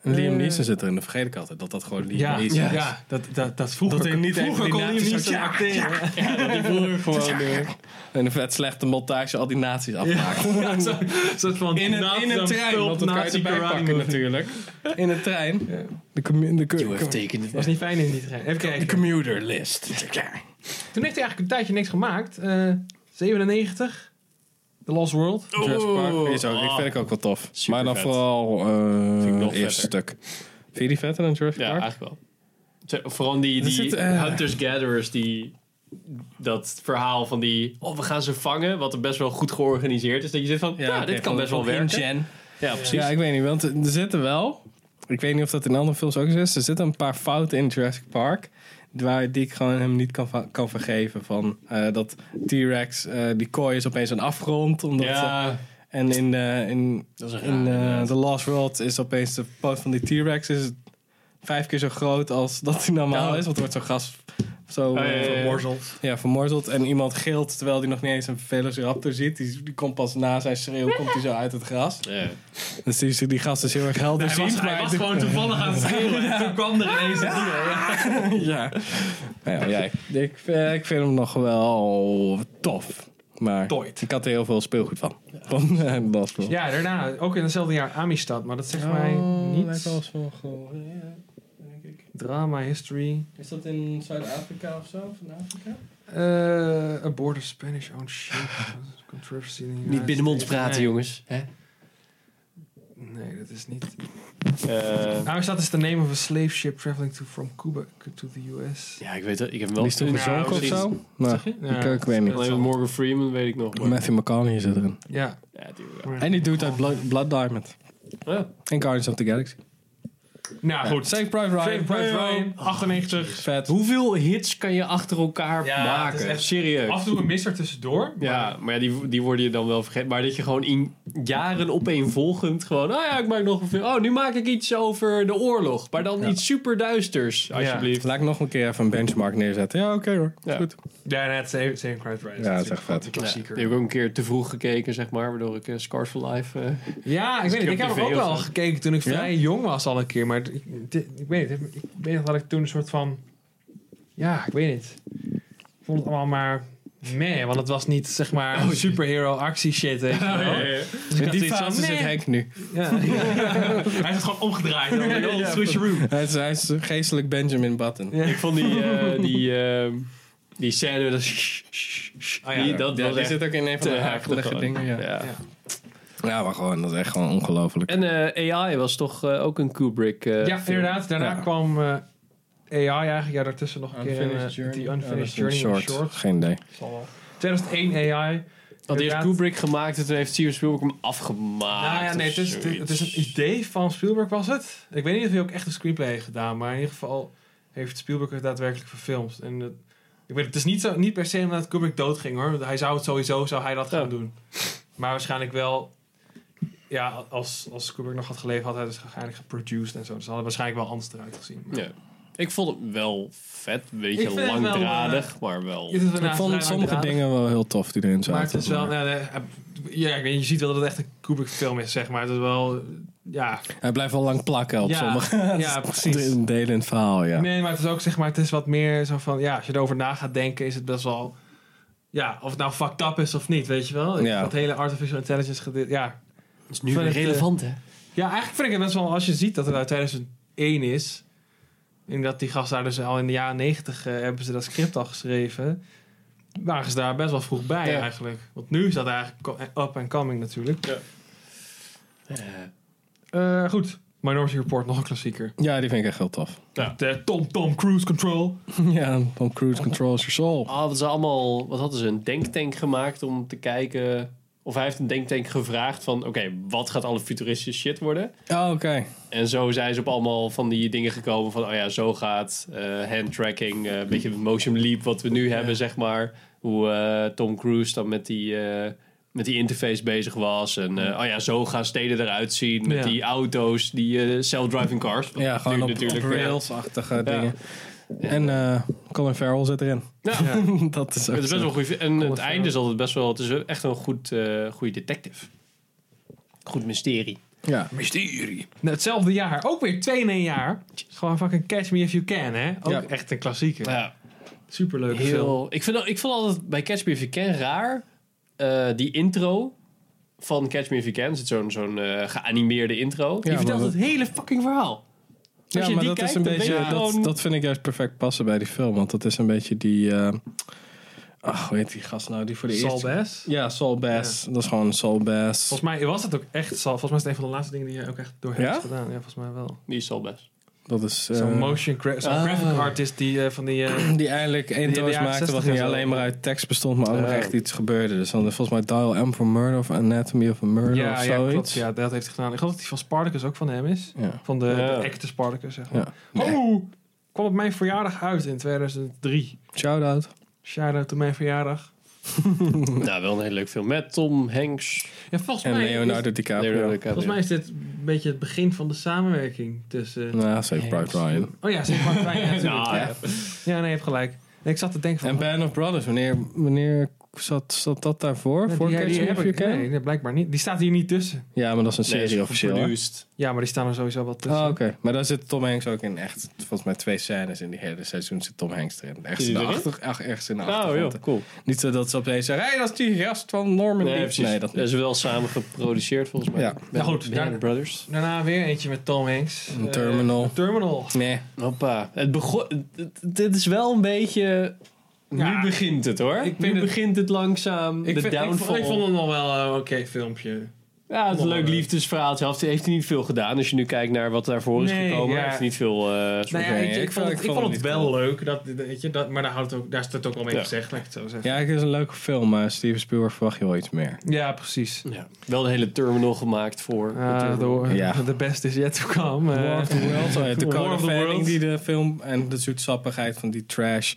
[SPEAKER 2] En Liam
[SPEAKER 1] Eh.
[SPEAKER 2] Neeson zit erin. Dat vergeet ik altijd. Dat dat gewoon Liam
[SPEAKER 1] Ja,
[SPEAKER 2] Neeson
[SPEAKER 1] ja,
[SPEAKER 2] is.
[SPEAKER 1] ja, dat, dat, dat vroeger.
[SPEAKER 2] Dat hij niet
[SPEAKER 1] vroeger
[SPEAKER 2] even die
[SPEAKER 1] kon hij
[SPEAKER 2] nazi's
[SPEAKER 1] niet zo
[SPEAKER 2] had- ja,
[SPEAKER 1] acteren. Ja,
[SPEAKER 3] die vroeger gewoon...
[SPEAKER 2] En eh, een vet slechte montage al die nazi's afmaakt.
[SPEAKER 1] zo- een soort van
[SPEAKER 2] In een, in een trein, want dat kan je erbij pakken natuurlijk. In een trein. De, commu- de, co-
[SPEAKER 3] You have
[SPEAKER 2] com-
[SPEAKER 3] taken
[SPEAKER 1] was niet fijn in die trein. Even
[SPEAKER 2] de
[SPEAKER 1] kijken.
[SPEAKER 2] commuter list.
[SPEAKER 1] Toen heeft hij eigenlijk een tijdje niks gemaakt. Eh 97. The Lost World.
[SPEAKER 2] Jurassic Park is ook, ik
[SPEAKER 3] oh.
[SPEAKER 2] vind ik ook wel tof.
[SPEAKER 3] Super
[SPEAKER 2] maar dan
[SPEAKER 3] vet.
[SPEAKER 2] vooral eh
[SPEAKER 3] Vind ik nog
[SPEAKER 2] het eerste
[SPEAKER 3] vetter.
[SPEAKER 2] stuk. Vind je die vetter dan Jurassic
[SPEAKER 3] Ja,
[SPEAKER 2] Park?
[SPEAKER 3] eigenlijk wel. Zo, Vooral die,
[SPEAKER 2] Er
[SPEAKER 3] die
[SPEAKER 2] zit, eh,
[SPEAKER 3] hunters-gatherers die dat verhaal van die... Oh, we gaan ze vangen, wat best wel goed georganiseerd is. Dat je zit van, ja, dit kan best wel werken. Ja, precies.
[SPEAKER 2] Ja, ik weet niet, want er zitten wel... Ik weet niet of dat in andere films ook zo is. Er zitten een paar fouten in Jurassic Park... Waar, die ik gewoon hem niet kan, va- kan vergeven. Van eh, dat T-Rex, eh, die kooi is opeens een afgrond. Omdat ze-
[SPEAKER 3] Ja, Oh,
[SPEAKER 2] en in, eh, in,
[SPEAKER 3] dat is
[SPEAKER 2] in
[SPEAKER 3] een
[SPEAKER 2] eh,
[SPEAKER 3] raar.
[SPEAKER 2] The Last World is opeens de poot van die T-Rex... is vijf keer zo groot als dat hij normaal
[SPEAKER 3] Ja. Oh,
[SPEAKER 2] is. Want er wordt zo'n gas... Zo,
[SPEAKER 3] ja, ja, ja.
[SPEAKER 1] Vermorzeld.
[SPEAKER 2] ja, vermorzeld. En iemand gilt terwijl hij nog niet eens een Velociraptor ziet. Die, die komt pas na zijn schreeuw komt hij zo uit het gras.
[SPEAKER 3] Ja.
[SPEAKER 2] Dus die, die gast is heel erg helder
[SPEAKER 1] Hij was,
[SPEAKER 2] ziend,
[SPEAKER 1] hij
[SPEAKER 2] maar-
[SPEAKER 1] was gewoon toevallig aan het schreeuwen. En toen kwam er ineens het ding.
[SPEAKER 2] ja. Nou ja, ja, ik, ik, eh, ik vind hem nog wel tof. Maar
[SPEAKER 1] Tooit.
[SPEAKER 2] ik had er heel veel speelgoed van. Van eh, Last World.
[SPEAKER 1] Ja, daarna. Ook in hetzelfde jaar Amistad. Maar dat zegt
[SPEAKER 2] Oh,
[SPEAKER 1] mij
[SPEAKER 2] lijkt wel
[SPEAKER 1] niet.
[SPEAKER 2] eens van gehoord, denk ik.
[SPEAKER 1] Drama, history.
[SPEAKER 2] Is dat in Zuid-Afrika of zo? Van Afrika?
[SPEAKER 1] Eh a border Spanish owned ship. Controversy in the
[SPEAKER 3] Niet
[SPEAKER 1] United
[SPEAKER 3] binnenmonds
[SPEAKER 1] States.
[SPEAKER 3] praten,
[SPEAKER 1] Nee.
[SPEAKER 3] jongens. Hè?
[SPEAKER 1] Nee, dat is niet.
[SPEAKER 3] Eh,
[SPEAKER 1] Amistad is the name of a slave ship traveling to, from Cuba to the US.
[SPEAKER 3] ja, ik weet dat. Ik heb hem
[SPEAKER 2] Die
[SPEAKER 3] wel
[SPEAKER 2] is toen
[SPEAKER 1] Ja,
[SPEAKER 2] gezonken of
[SPEAKER 1] precies.
[SPEAKER 2] zo? Nou,
[SPEAKER 1] Zeg je?
[SPEAKER 2] ik, ik weet niet.
[SPEAKER 3] Alleen met Morgan Freeman weet ik nog. maar-
[SPEAKER 2] Matthew McConaughey zit erin.
[SPEAKER 1] Ja.
[SPEAKER 3] Ja, die,
[SPEAKER 2] En die doet uit Blood, Blood Diamond.
[SPEAKER 3] ja.
[SPEAKER 2] En Guardians of the Galaxy.
[SPEAKER 1] Nou goed.
[SPEAKER 2] Save Private Ryan.
[SPEAKER 1] Saving Private Ryan, 98.
[SPEAKER 2] Vet.
[SPEAKER 3] Hoeveel hits kan je achter elkaar
[SPEAKER 1] Ja,
[SPEAKER 3] maken?
[SPEAKER 1] het is echt-
[SPEAKER 3] Serieus.
[SPEAKER 1] Af en toe een misser tussendoor. maar-
[SPEAKER 3] Ja, maar ja, die, die worden je dan wel vergeten. Maar dat je gewoon in jaren opeenvolgend gewoon... Oh ja, ik maak nog een film. Oh, nu maak ik iets over de oorlog. Maar dan
[SPEAKER 2] Ja.
[SPEAKER 3] iets super duisters, alsjeblieft.
[SPEAKER 2] Laat ik nog een keer even een benchmark neerzetten. Ja, oké hoor.
[SPEAKER 3] Ja.
[SPEAKER 2] Goed.
[SPEAKER 1] Ja, net Saving Saving Private Ryan.
[SPEAKER 2] Ja, dat is
[SPEAKER 1] natuurlijk
[SPEAKER 2] echt vet.
[SPEAKER 1] een
[SPEAKER 3] Ja, die
[SPEAKER 1] Klassieker.
[SPEAKER 3] heb ik ook een keer te vroeg gekeken, zeg maar. Waardoor ik eh, Scars for Life... eh,
[SPEAKER 1] Ja, ik weet niet. Ik heb
[SPEAKER 3] op
[SPEAKER 1] hem ook
[SPEAKER 3] tv
[SPEAKER 1] wel
[SPEAKER 3] of zo.
[SPEAKER 1] gekeken toen ik
[SPEAKER 2] Ja?
[SPEAKER 1] vrij jong was al een keer. Maar ik, dit- ik weet niet. Ik weet nog dat ik toen een soort van... Ja, ik weet niet. Ik vond het allemaal maar... meh, want het was niet zeg maar superhero actie shit. Weet je
[SPEAKER 3] Oh,
[SPEAKER 1] wel. Dus ik
[SPEAKER 2] In
[SPEAKER 1] had
[SPEAKER 2] die
[SPEAKER 1] zoiets van,
[SPEAKER 2] fase zit
[SPEAKER 1] meh.
[SPEAKER 2] Henk nu.
[SPEAKER 1] Ja. Hij is het gewoon omgedraaid. hoor.
[SPEAKER 3] Ja, ja,
[SPEAKER 1] Switch room.
[SPEAKER 2] Hij is, hij is geestelijk Benjamin Button.
[SPEAKER 1] Ja.
[SPEAKER 3] Ik vond die, eh, die, eh, die scène... Dat,
[SPEAKER 1] Oh ja,
[SPEAKER 3] die, dat
[SPEAKER 2] Ja,
[SPEAKER 3] was
[SPEAKER 2] die
[SPEAKER 3] echt
[SPEAKER 2] zit ook in een van
[SPEAKER 3] te
[SPEAKER 2] de
[SPEAKER 3] hakelig
[SPEAKER 2] hakelige
[SPEAKER 3] gewoon.
[SPEAKER 2] dingen. Ja.
[SPEAKER 3] Ja.
[SPEAKER 2] ja, maar gewoon, dat is echt gewoon ongelooflijk.
[SPEAKER 3] En eh, AI was toch eh, ook een Kubrick eh,
[SPEAKER 1] Ja,
[SPEAKER 3] film?
[SPEAKER 1] inderdaad. Daarna
[SPEAKER 2] Ja.
[SPEAKER 1] kwam eh, AI eigenlijk. Ja, daartussen nog een keer
[SPEAKER 2] Unfinished
[SPEAKER 1] eh,
[SPEAKER 2] Journey.
[SPEAKER 1] die
[SPEAKER 2] Ja, dat
[SPEAKER 1] Unfinished
[SPEAKER 2] is een
[SPEAKER 1] Journey in short.
[SPEAKER 2] Geen idee.
[SPEAKER 1] Zal wel. 2001 AI.
[SPEAKER 3] Dat heeft
[SPEAKER 1] inderdaad-
[SPEAKER 3] Kubrick gemaakt en toen heeft Steven Spielberg hem afgemaakt.
[SPEAKER 1] Nou ja, nee,
[SPEAKER 3] of
[SPEAKER 1] het is, het,
[SPEAKER 3] zoiets.
[SPEAKER 1] het is een idee van Spielberg was het. Ik weet niet of hij ook echt een screenplay heeft gedaan, maar in ieder geval heeft Spielberg het daadwerkelijk verfilmd. En het, ik weet, het is niet, zo, niet per se omdat Kubrick doodging hoor. Hij zou het sowieso zou hij dat
[SPEAKER 3] Ja.
[SPEAKER 1] gaan doen. Maar waarschijnlijk wel. Ja, als, als Kubrick nog had geleefd, had hij dus waarschijnlijk geproduced en zo. Dus had het waarschijnlijk wel anders eruit gezien. Maar-
[SPEAKER 3] Ja. Ik vond het wel vet, een
[SPEAKER 1] Ik
[SPEAKER 3] beetje
[SPEAKER 1] vind het wel, eh,
[SPEAKER 3] langdradig, maar wel.
[SPEAKER 1] Het is
[SPEAKER 2] Ik
[SPEAKER 1] inderdaad vrij
[SPEAKER 2] vond sommige
[SPEAKER 1] langdradig.
[SPEAKER 2] dingen wel heel tof die erin zaten.
[SPEAKER 1] Maar het is wel. nou, nee, eh, ja, ik weet, je ziet wel dat het echt een Kubrick-film is, zeg maar. Het is wel. Ja,
[SPEAKER 2] Hij blijft wel lang plakken op
[SPEAKER 1] Ja,
[SPEAKER 2] sommige
[SPEAKER 1] ja precies.
[SPEAKER 2] delen in het verhaal, ja.
[SPEAKER 1] Nee, maar het is ook zeg maar, het is wat meer zo van, ja, als je erover na gaat denken, is het best wel, ja, of het nou fucked up is of niet, weet je wel?
[SPEAKER 2] Ja.
[SPEAKER 1] Dat hele artificial intelligence, gede- ja.
[SPEAKER 3] is
[SPEAKER 1] nu weer relevant,
[SPEAKER 3] hè?
[SPEAKER 1] Ja, eigenlijk vind ik het best wel, als je ziet dat het uit 2001 is, en dat die gast daar dus al in de jaren 90 eh, hebben ze dat script al geschreven, waren ze daar best wel vroeg bij
[SPEAKER 3] Ja.
[SPEAKER 1] eigenlijk. Want nu is dat eigenlijk co- up and coming natuurlijk. Eh, goed, Minority Report, nog een klassieker.
[SPEAKER 2] Ja, die vind ik echt heel tof.
[SPEAKER 3] Ja.
[SPEAKER 1] De Tom Tom Cruise Control.
[SPEAKER 2] ja, Tom Cruise controls your soul.
[SPEAKER 3] hadden ze ah, allemaal, wat hadden ze, een denktank gemaakt om te kijken. Of hij heeft een denktank gevraagd van: oké, wat gaat alle futuristische shit worden?
[SPEAKER 2] Oh, oké.
[SPEAKER 3] En zo zijn ze op allemaal van die dingen gekomen van: oh ja, zo gaat eh hand tracking, eh, een beetje motion leap wat we nu hebben, zeg maar. Hoe eh, Tom Cruise dan met die, eh, met die interface bezig was. En eh, oh ja, zo gaan steden eruit zien met
[SPEAKER 1] Ja.
[SPEAKER 3] die auto's, die eh self-driving cars. Wat
[SPEAKER 2] Ja, gewoon
[SPEAKER 3] nu
[SPEAKER 2] op,
[SPEAKER 3] natuurlijk,
[SPEAKER 2] op
[SPEAKER 3] eh,
[SPEAKER 2] rails-achtige dingen. En eh, Colin Farrell zit erin.
[SPEAKER 3] Ja.
[SPEAKER 2] dat is ook
[SPEAKER 3] Het is best
[SPEAKER 2] zo.
[SPEAKER 3] wel goed. En
[SPEAKER 1] Colin
[SPEAKER 3] het
[SPEAKER 1] Farrell.
[SPEAKER 3] einde is altijd best wel. Het is echt een goed, eh goede detective. Goed mysterie.
[SPEAKER 2] Ja.
[SPEAKER 3] Mysterie.
[SPEAKER 1] Nou, hetzelfde jaar. Ook weer twee in één jaar. Gewoon fucking Catch Me If You Can, hè? Ook
[SPEAKER 2] Ja.
[SPEAKER 1] echt een klassieker.
[SPEAKER 3] Ja,
[SPEAKER 1] Superleuk film.
[SPEAKER 3] heel. Ik, vind, al- ik vond altijd bij Catch Me If You Can raar. eh, die intro van Catch Me If You Can. Er zit zo'n zo'n eh, geanimeerde intro. die
[SPEAKER 2] maar
[SPEAKER 3] vertelt
[SPEAKER 2] dat-
[SPEAKER 3] het hele fucking verhaal.
[SPEAKER 2] Ja,
[SPEAKER 3] je
[SPEAKER 2] maar
[SPEAKER 3] die
[SPEAKER 2] dat
[SPEAKER 3] kijkt,
[SPEAKER 2] is een
[SPEAKER 3] dan
[SPEAKER 2] beetje.
[SPEAKER 3] weet je
[SPEAKER 2] dat,
[SPEAKER 3] gewoon-
[SPEAKER 2] dat vind ik juist perfect passen bij die film. Want dat is een beetje die. eh, ach, hoe heet die gast nou? Die voor de
[SPEAKER 1] Saul
[SPEAKER 2] eerste.
[SPEAKER 1] Bass.
[SPEAKER 2] Ja, Saul Bass. Dat is gewoon Saul Bass.
[SPEAKER 1] Volgens mij was het ook echt Saul. Volgens mij is het een van de laatste dingen die je ook echt door hebt
[SPEAKER 2] Ja?
[SPEAKER 1] gedaan. Ja, volgens mij wel.
[SPEAKER 3] Die is al best.
[SPEAKER 2] Dat is. eh,
[SPEAKER 1] Zo'n motion gra- zo'n
[SPEAKER 2] ah.
[SPEAKER 1] graphic artist die eh, van die... eh,
[SPEAKER 2] die eigenlijk
[SPEAKER 1] jaren
[SPEAKER 2] intro's maakte
[SPEAKER 1] 60
[SPEAKER 2] wat
[SPEAKER 1] en
[SPEAKER 2] niet
[SPEAKER 1] zo.
[SPEAKER 2] alleen maar uit tekst bestond, maar ook nog
[SPEAKER 3] Ja.
[SPEAKER 2] echt iets gebeurde. Dus dan volgens mij Dial M for Murder of Anatomy of a Murder of
[SPEAKER 1] ja, ja,
[SPEAKER 2] zoiets.
[SPEAKER 1] klopt. Ja, dat heeft hij gedaan. Ik geloof dat die van Spartacus ook van hem is.
[SPEAKER 2] Ja.
[SPEAKER 1] Van de,
[SPEAKER 3] Ja.
[SPEAKER 1] de echte Spartacus, zeg maar.
[SPEAKER 2] Ja. Nee.
[SPEAKER 1] Oh! Kwam op mijn verjaardag uit in 2003.
[SPEAKER 2] Shout-out.
[SPEAKER 1] Shout-out to mijn verjaardag.
[SPEAKER 3] nou, wel een hele leuk film. Met Tom Hanks.
[SPEAKER 1] Ja, volgens
[SPEAKER 2] En
[SPEAKER 1] mij... is-
[SPEAKER 2] Leonardo DiCaprio.
[SPEAKER 3] Leonardo DiCaprio.
[SPEAKER 1] Volgens mij is dit een beetje het begin van de samenwerking tussen...
[SPEAKER 2] Nou, Save Private Ryan.
[SPEAKER 1] Oh ja, zeg maar. Ja, natuurlijk.
[SPEAKER 3] Nou,
[SPEAKER 1] ja. ja, nee, je hebt gelijk. Nee, ik zat te denken van...
[SPEAKER 2] En Band of Brothers, wanneer, wanneer zat, zat dat daarvoor?
[SPEAKER 1] Nee,
[SPEAKER 2] voor
[SPEAKER 1] die-
[SPEAKER 2] Catch
[SPEAKER 1] die
[SPEAKER 2] Me
[SPEAKER 1] heb
[SPEAKER 2] If You
[SPEAKER 1] ik-
[SPEAKER 2] Can?
[SPEAKER 1] nee, nee, blijkbaar niet. Die staat hier niet tussen.
[SPEAKER 2] Ja, maar dat is een serie
[SPEAKER 3] Nee,
[SPEAKER 2] officieel. hè?
[SPEAKER 3] geproduced.
[SPEAKER 1] Ja, maar die staan er sowieso wel tussen.
[SPEAKER 2] Ah, oké. Maar daar zit Tom Hanks ook in echt, volgens mij twee scènes in die hele seizoen zit Tom Hanks erin. Ergens
[SPEAKER 3] Is
[SPEAKER 2] in
[SPEAKER 3] hij
[SPEAKER 2] de,
[SPEAKER 3] erin?
[SPEAKER 2] achter, ach, ergens in de
[SPEAKER 3] Oh,
[SPEAKER 2] achtergrond.
[SPEAKER 3] joh, cool.
[SPEAKER 2] Niet zo dat ze opeens zeggen, hé, dat is die gast van Norman
[SPEAKER 3] Nee,
[SPEAKER 2] Leeds.
[SPEAKER 3] precies.
[SPEAKER 2] Nee, dat
[SPEAKER 3] dat
[SPEAKER 2] niet.
[SPEAKER 3] is wel samen geproduceerd volgens mij.
[SPEAKER 2] Ja.
[SPEAKER 1] Nou goed,
[SPEAKER 3] Band
[SPEAKER 1] daar-
[SPEAKER 3] Brothers.
[SPEAKER 1] Daarna weer eentje met Tom Hanks.
[SPEAKER 2] Een
[SPEAKER 1] Eh,
[SPEAKER 2] Terminal.
[SPEAKER 1] terminal.
[SPEAKER 2] Nee.
[SPEAKER 3] Hoppa. Het begon, het- het- dit is wel een beetje...
[SPEAKER 1] Ja,
[SPEAKER 3] nu begint het hoor.
[SPEAKER 1] ik
[SPEAKER 3] nu
[SPEAKER 1] vind het-
[SPEAKER 3] begint het langzaam.
[SPEAKER 1] Ik,
[SPEAKER 3] de
[SPEAKER 1] vind- ik vond-
[SPEAKER 3] downfall.
[SPEAKER 1] ik vond het nog wel een oké filmpje.
[SPEAKER 3] ja, het is een leuk
[SPEAKER 1] wel, eh,
[SPEAKER 3] liefdesverhaal. Zelf heeft hij niet veel gedaan. Als je nu kijkt naar wat daarvoor is
[SPEAKER 1] Nee,
[SPEAKER 3] gekomen.
[SPEAKER 1] ja.
[SPEAKER 3] heeft hij niet veel... eh, soort-
[SPEAKER 1] Nou ja,
[SPEAKER 2] oké,
[SPEAKER 1] ik, ik
[SPEAKER 2] ik
[SPEAKER 1] vond
[SPEAKER 2] vond-
[SPEAKER 1] het,
[SPEAKER 2] ik
[SPEAKER 1] ik
[SPEAKER 2] vond
[SPEAKER 1] vond
[SPEAKER 2] het
[SPEAKER 1] het
[SPEAKER 2] niet
[SPEAKER 1] wel leuk. Dat, dat- weet je, dat, maar daar, houdt ook, daar is het ook al mee
[SPEAKER 3] Ja.
[SPEAKER 1] gezegd, laat ik het zo zeggen.
[SPEAKER 2] Ja, het is een leuke film, maar Steven Spielberg verwacht je wel iets meer.
[SPEAKER 1] Ja, precies.
[SPEAKER 3] ja. Wel de hele terminal gemaakt voor. de
[SPEAKER 1] Ah,
[SPEAKER 3] terminal.
[SPEAKER 1] de,
[SPEAKER 2] eh, Ja.
[SPEAKER 1] de best is yet to come. eh.
[SPEAKER 2] War of the World, zo heet de
[SPEAKER 1] War
[SPEAKER 2] Dakota
[SPEAKER 1] of the
[SPEAKER 2] Fanning
[SPEAKER 1] World.
[SPEAKER 2] die de film en de zoetsappigheid van die trash.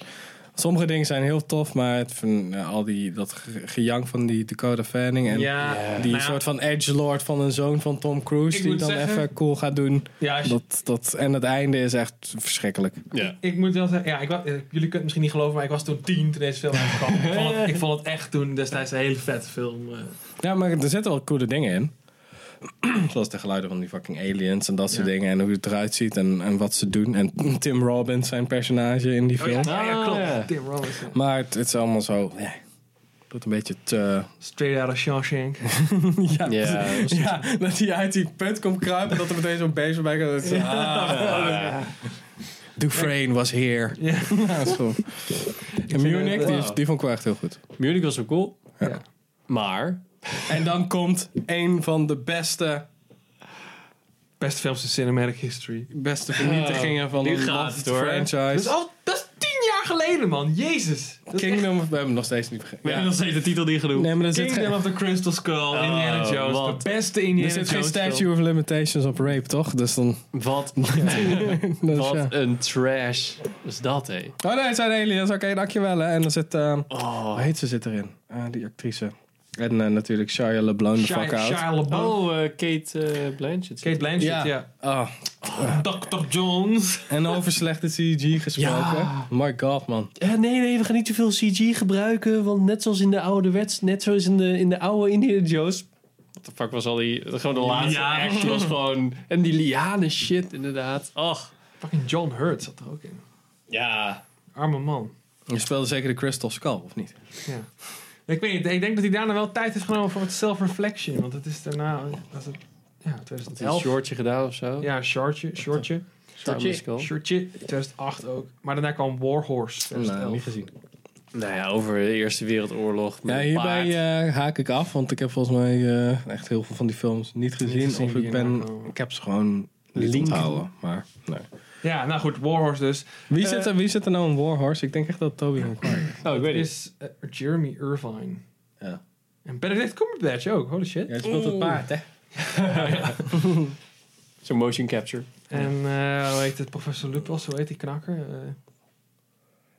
[SPEAKER 2] Sommige dingen zijn heel tof, maar het, van, eh, al die, dat ge- gejank van die Dakota Fanning en
[SPEAKER 1] ja,
[SPEAKER 3] Ja.
[SPEAKER 2] die
[SPEAKER 1] nou ja,
[SPEAKER 2] soort van edgelord van een zoon van Tom Cruise
[SPEAKER 1] Ik
[SPEAKER 2] die
[SPEAKER 1] moet
[SPEAKER 2] dan
[SPEAKER 1] zeggen-
[SPEAKER 2] even cool gaat doen.
[SPEAKER 1] ja, als je-
[SPEAKER 2] Dat, dat, en het einde is echt verschrikkelijk.
[SPEAKER 3] Ja.
[SPEAKER 1] Ik moet wel zeggen, ja, ik, wa- eh, jullie kunnen het misschien niet geloven, maar ik was toen tien toen deze film uitkwam. ik, vond het, ik vond het echt toen destijds een hele vette film. eh.
[SPEAKER 2] Ja, maar er zitten wel coole dingen in. Zoals de geluiden van die fucking aliens en dat soort
[SPEAKER 1] Ja.
[SPEAKER 2] dingen. En hoe het eruit ziet en, en wat ze doen. En Tim Robbins zijn personage in die film.
[SPEAKER 1] Oh, ja, ja, ja, klopt.
[SPEAKER 3] Ah, ja.
[SPEAKER 1] Tim Robbins. ja.
[SPEAKER 2] Maar het, het is allemaal zo... eh, Dat een beetje te...
[SPEAKER 1] Straight out of Shawshank.
[SPEAKER 2] Ja,
[SPEAKER 3] Ja, dat is-
[SPEAKER 2] ja, dat hij uit die put komt kruipen en dat er meteen zo'n beest voorbij gaat. ah. Ja.
[SPEAKER 3] Ah.
[SPEAKER 2] Dufresne was here.
[SPEAKER 1] Ja.
[SPEAKER 2] Ja, zo. En Munich, die, is- die vond ik wel echt heel goed.
[SPEAKER 3] Munich was ook cool.
[SPEAKER 1] Ja.
[SPEAKER 3] Maar...
[SPEAKER 2] En dan komt een van de beste,
[SPEAKER 1] Beste films in cinematic history.
[SPEAKER 2] beste vernietigingen van
[SPEAKER 3] Nu
[SPEAKER 2] een
[SPEAKER 3] gaat het,
[SPEAKER 2] beloved
[SPEAKER 3] hoor.
[SPEAKER 1] Dat is
[SPEAKER 2] franchise.
[SPEAKER 1] al dat is tien jaar geleden, man. Jezus. Dat is echt-
[SPEAKER 2] Kingdom, we hebben hem nog steeds niet vergeten.
[SPEAKER 3] We
[SPEAKER 2] Ja.
[SPEAKER 3] hebben nog steeds de titel niet genoemd.
[SPEAKER 2] Nee, maar er zit, geen,
[SPEAKER 1] Kingdom
[SPEAKER 2] er
[SPEAKER 1] of the Crystal Skull,
[SPEAKER 3] Oh,
[SPEAKER 1] Indiana Jones.
[SPEAKER 3] wat?
[SPEAKER 1] De beste Indiana
[SPEAKER 2] zit geen
[SPEAKER 1] Jones
[SPEAKER 2] Statue of Limitations op Rape, toch? Dus dan...
[SPEAKER 3] Wat,
[SPEAKER 2] dus ja.
[SPEAKER 3] wat een trash is dat, hé.
[SPEAKER 2] Oh nee, het zijn aliens. Oké, dankjewel. Hè. En dan zit... eh,
[SPEAKER 3] Oh,
[SPEAKER 2] Hoe heet ze zit erin? Eh, die actrice. En eh, natuurlijk Shia LeBlanc, de
[SPEAKER 1] film.
[SPEAKER 2] fuck out.
[SPEAKER 1] Shia LaBeouf.
[SPEAKER 3] oh eh, Kate eh, Blanchett.
[SPEAKER 1] Kate Blanchett,
[SPEAKER 2] Ja.
[SPEAKER 1] ja.
[SPEAKER 2] Ah,
[SPEAKER 1] Dr. Jones.
[SPEAKER 2] En over slechte CG gesproken.
[SPEAKER 3] Ja.
[SPEAKER 2] My god, man.
[SPEAKER 3] Eh, nee, nee, we gaan niet te veel CG gebruiken. Want net zoals in de oude wets, net zoals in de, in de oude Indiana Jones. Wat de fuck was al die... Gewoon de laatste
[SPEAKER 1] Ja.
[SPEAKER 3] act was gewoon... En die liane shit, inderdaad. Och.
[SPEAKER 1] Fucking John Hurt zat er ook in.
[SPEAKER 3] Ja.
[SPEAKER 1] Arme man.
[SPEAKER 2] Je speelde zeker de Crystal Skull, of niet?
[SPEAKER 1] Ja. Ik weet niet, ik denk dat hij daarna wel tijd heeft genomen voor wat self-reflection. Want het is daarna... Was het, ja,
[SPEAKER 3] Een
[SPEAKER 1] 2011.
[SPEAKER 3] shortje gedaan of zo.
[SPEAKER 1] Ja, shortje, shortje.
[SPEAKER 3] Shortje.
[SPEAKER 1] Shortje, 2008 ook. Maar daarna kwam Warhorse, 2011.
[SPEAKER 2] gezien.
[SPEAKER 3] Nou ja, over de Eerste Wereldoorlog. met
[SPEAKER 2] Ja,
[SPEAKER 3] paard.
[SPEAKER 2] hierbij eh, haak ik af, want ik heb volgens mij eh, echt heel veel van die films niet gezien. nou-
[SPEAKER 1] gezien
[SPEAKER 2] of
[SPEAKER 1] die
[SPEAKER 2] ik,
[SPEAKER 1] hierna
[SPEAKER 2] ben,
[SPEAKER 1] komen.
[SPEAKER 2] ik heb ze gewoon niet
[SPEAKER 3] Link.
[SPEAKER 2] onthouden. Maar, nee.
[SPEAKER 1] Ja, nou goed, Warhorse dus.
[SPEAKER 2] wie,
[SPEAKER 1] Eh,
[SPEAKER 2] zit er, wie zit er nou in Warhorse? Ik denk echt dat Toby McGuire is.
[SPEAKER 3] Oh, ik weet niet.
[SPEAKER 1] Is eh, Jeremy Irvine.
[SPEAKER 2] Ja.
[SPEAKER 1] En Benedict Cumberbatch ook, holy shit.
[SPEAKER 2] Jij speelt het paard, hè?
[SPEAKER 3] Zo'n motion capture.
[SPEAKER 1] En eh, hoe heet het, professor Lupos, hoe heet die knakker? Eh,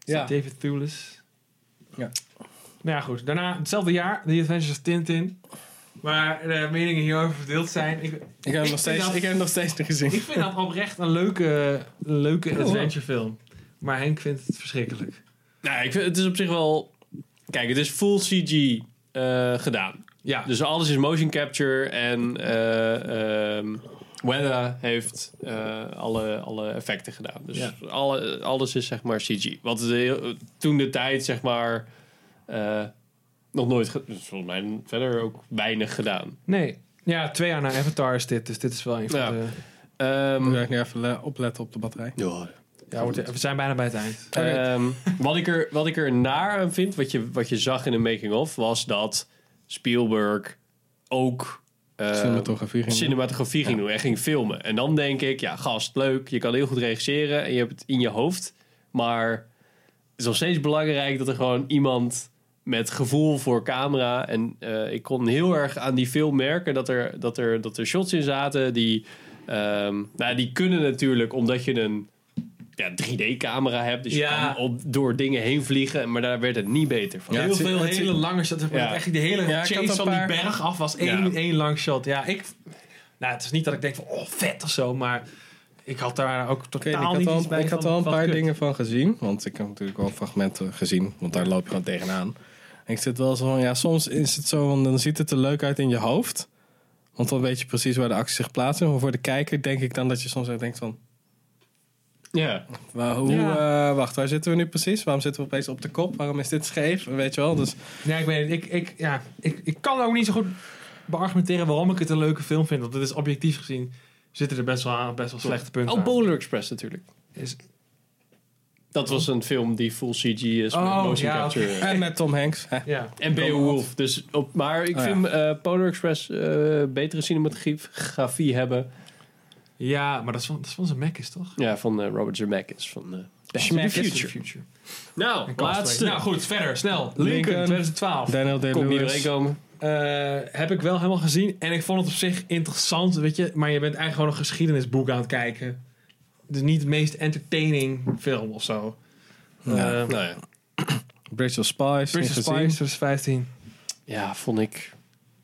[SPEAKER 1] is
[SPEAKER 2] Ja.
[SPEAKER 1] dat David Thewlis.
[SPEAKER 2] Ja.
[SPEAKER 1] Nou ja, goed. Daarna, hetzelfde jaar, The Adventures of Tintin. Waar de meningen hierover verdeeld zijn. Ik,
[SPEAKER 2] Ik heb hem nog
[SPEAKER 1] vind
[SPEAKER 2] steeds,
[SPEAKER 1] dat-
[SPEAKER 2] ik heb hem nog steeds niet gezien.
[SPEAKER 1] ik vind dat oprecht een leuke, leuke
[SPEAKER 2] Oh, wow.
[SPEAKER 1] adventurefilm. Maar Henk vindt het verschrikkelijk.
[SPEAKER 3] Nou, ik vind, het is op zich wel... Kijk, het is full CG eh, gedaan.
[SPEAKER 1] Ja.
[SPEAKER 3] Dus alles is motion capture en eh ehm, Weta heeft eh, alle, alle effecten gedaan. Dus
[SPEAKER 1] Ja.
[SPEAKER 3] alle, alles is zeg maar CG. Wat de, toen de tijd zeg maar eh, nog nooit, ge- dus volgens mij verder ook weinig gedaan.
[SPEAKER 1] Nee. Ja, twee jaar na Avatar is dit. Dus dit is wel een van
[SPEAKER 3] Ja.
[SPEAKER 1] de...
[SPEAKER 3] Ehm,
[SPEAKER 2] Moet ik nu even le- opletten op de batterij.
[SPEAKER 1] Ja, wordt- we zijn bijna bij het eind. Eh,
[SPEAKER 2] Oké.
[SPEAKER 3] Ehm, wat, ik er, wat ik er naar aan vind, wat je, wat je zag in de making-of, was dat Spielberg ook eh,
[SPEAKER 2] Cinematografie ging
[SPEAKER 3] cinematografie ging doen en ging filmen. En dan denk ik, ja, gast, leuk, je kan heel goed regisseren en je hebt het in je hoofd. Maar het is nog steeds belangrijk dat er gewoon iemand met gevoel voor camera. En eh, ik kon heel erg aan die film merken dat er, dat er, dat er shots in zaten die. ehm, nou, die kunnen natuurlijk omdat je een ja, 3D-camera hebt. Dus
[SPEAKER 1] Ja.
[SPEAKER 3] je kan op, door dingen heen vliegen. Maar daar werd het niet beter van.
[SPEAKER 2] Ja,
[SPEAKER 1] heel
[SPEAKER 2] het zit-
[SPEAKER 1] veel
[SPEAKER 2] het
[SPEAKER 1] hele
[SPEAKER 2] zit-
[SPEAKER 1] lange shots. Zeg maar,
[SPEAKER 3] Ja.
[SPEAKER 1] dat Echt die hele
[SPEAKER 2] Ja, ik had
[SPEAKER 1] chase
[SPEAKER 2] een
[SPEAKER 1] van
[SPEAKER 2] paar-
[SPEAKER 1] die berg af was één, één lang shot. Ja, ik... Nou, het is niet dat ik denk van, oh, vet of zo, maar... Ik had daar ook
[SPEAKER 2] Ik, weet
[SPEAKER 1] totaal
[SPEAKER 2] niet, ik
[SPEAKER 1] niet
[SPEAKER 2] had
[SPEAKER 1] iets
[SPEAKER 2] al,
[SPEAKER 1] bij
[SPEAKER 2] ik had
[SPEAKER 1] van,
[SPEAKER 2] al een
[SPEAKER 1] wat
[SPEAKER 2] paar
[SPEAKER 1] kut.
[SPEAKER 2] dingen van gezien. Want ik heb natuurlijk wel fragmenten gezien. Want daar loop je gewoon tegenaan. En ik zit wel zo van, ja, soms is het zo, want dan ziet het er leuk uit in je hoofd. Want dan weet je precies waar de actie zich plaatst. Maar voor de kijker denk ik dan dat je soms echt denkt van...
[SPEAKER 3] Ja.
[SPEAKER 2] Waar, hoe,
[SPEAKER 1] Ja.
[SPEAKER 2] eh, wacht, waar zitten we nu precies? Waarom zitten we opeens op de kop? Waarom is dit scheef? Weet je wel, dus...
[SPEAKER 1] Nee, ik weet niet. Ik, ik, ja, ik, ik kan ook niet zo goed beargumenteren waarom ik het een leuke film vind. Want het is objectief gezien zitten er best wel, aan- best wel slechte punten
[SPEAKER 3] Oh,
[SPEAKER 1] aan.
[SPEAKER 3] Polar Express natuurlijk.
[SPEAKER 1] Is-
[SPEAKER 3] Dat was een film die full CG is met
[SPEAKER 1] Oh,
[SPEAKER 3] motion
[SPEAKER 1] ja,
[SPEAKER 3] capture.
[SPEAKER 2] En met Tom Hanks. hè.
[SPEAKER 1] ja.
[SPEAKER 3] En Beowulf. Dus op, maar ik
[SPEAKER 2] Oh, ja.
[SPEAKER 3] vind eh, Polar Express eh, betere cinematografie hebben.
[SPEAKER 1] ja, maar dat is van, dat is van zijn Mac is toch?
[SPEAKER 3] Ja, van eh, Robert Zemeckis. Van, eh, Back to the
[SPEAKER 2] Zemeckis.
[SPEAKER 3] Future.
[SPEAKER 1] Future.
[SPEAKER 3] Nou,
[SPEAKER 1] En
[SPEAKER 3] laatste.
[SPEAKER 1] Castaway. Nou goed, verder, snel. Lincoln,
[SPEAKER 2] Lincoln.
[SPEAKER 1] 2012.
[SPEAKER 2] Daniel
[SPEAKER 3] Komt niet doorheen
[SPEAKER 2] Day-Lewis.
[SPEAKER 3] komen.
[SPEAKER 1] Eh, heb ik wel helemaal gezien. En ik vond het op zich interessant, weet je. Maar je bent eigenlijk gewoon een geschiedenisboek aan het kijken. Dus niet het meest entertaining film of zo.
[SPEAKER 2] Ja.
[SPEAKER 1] Eh,
[SPEAKER 3] Nou ja.
[SPEAKER 2] Bridge of Spies.
[SPEAKER 1] Bridge of
[SPEAKER 2] niet
[SPEAKER 1] Spies,
[SPEAKER 2] gezien.
[SPEAKER 1] 2015.
[SPEAKER 3] ja, vond ik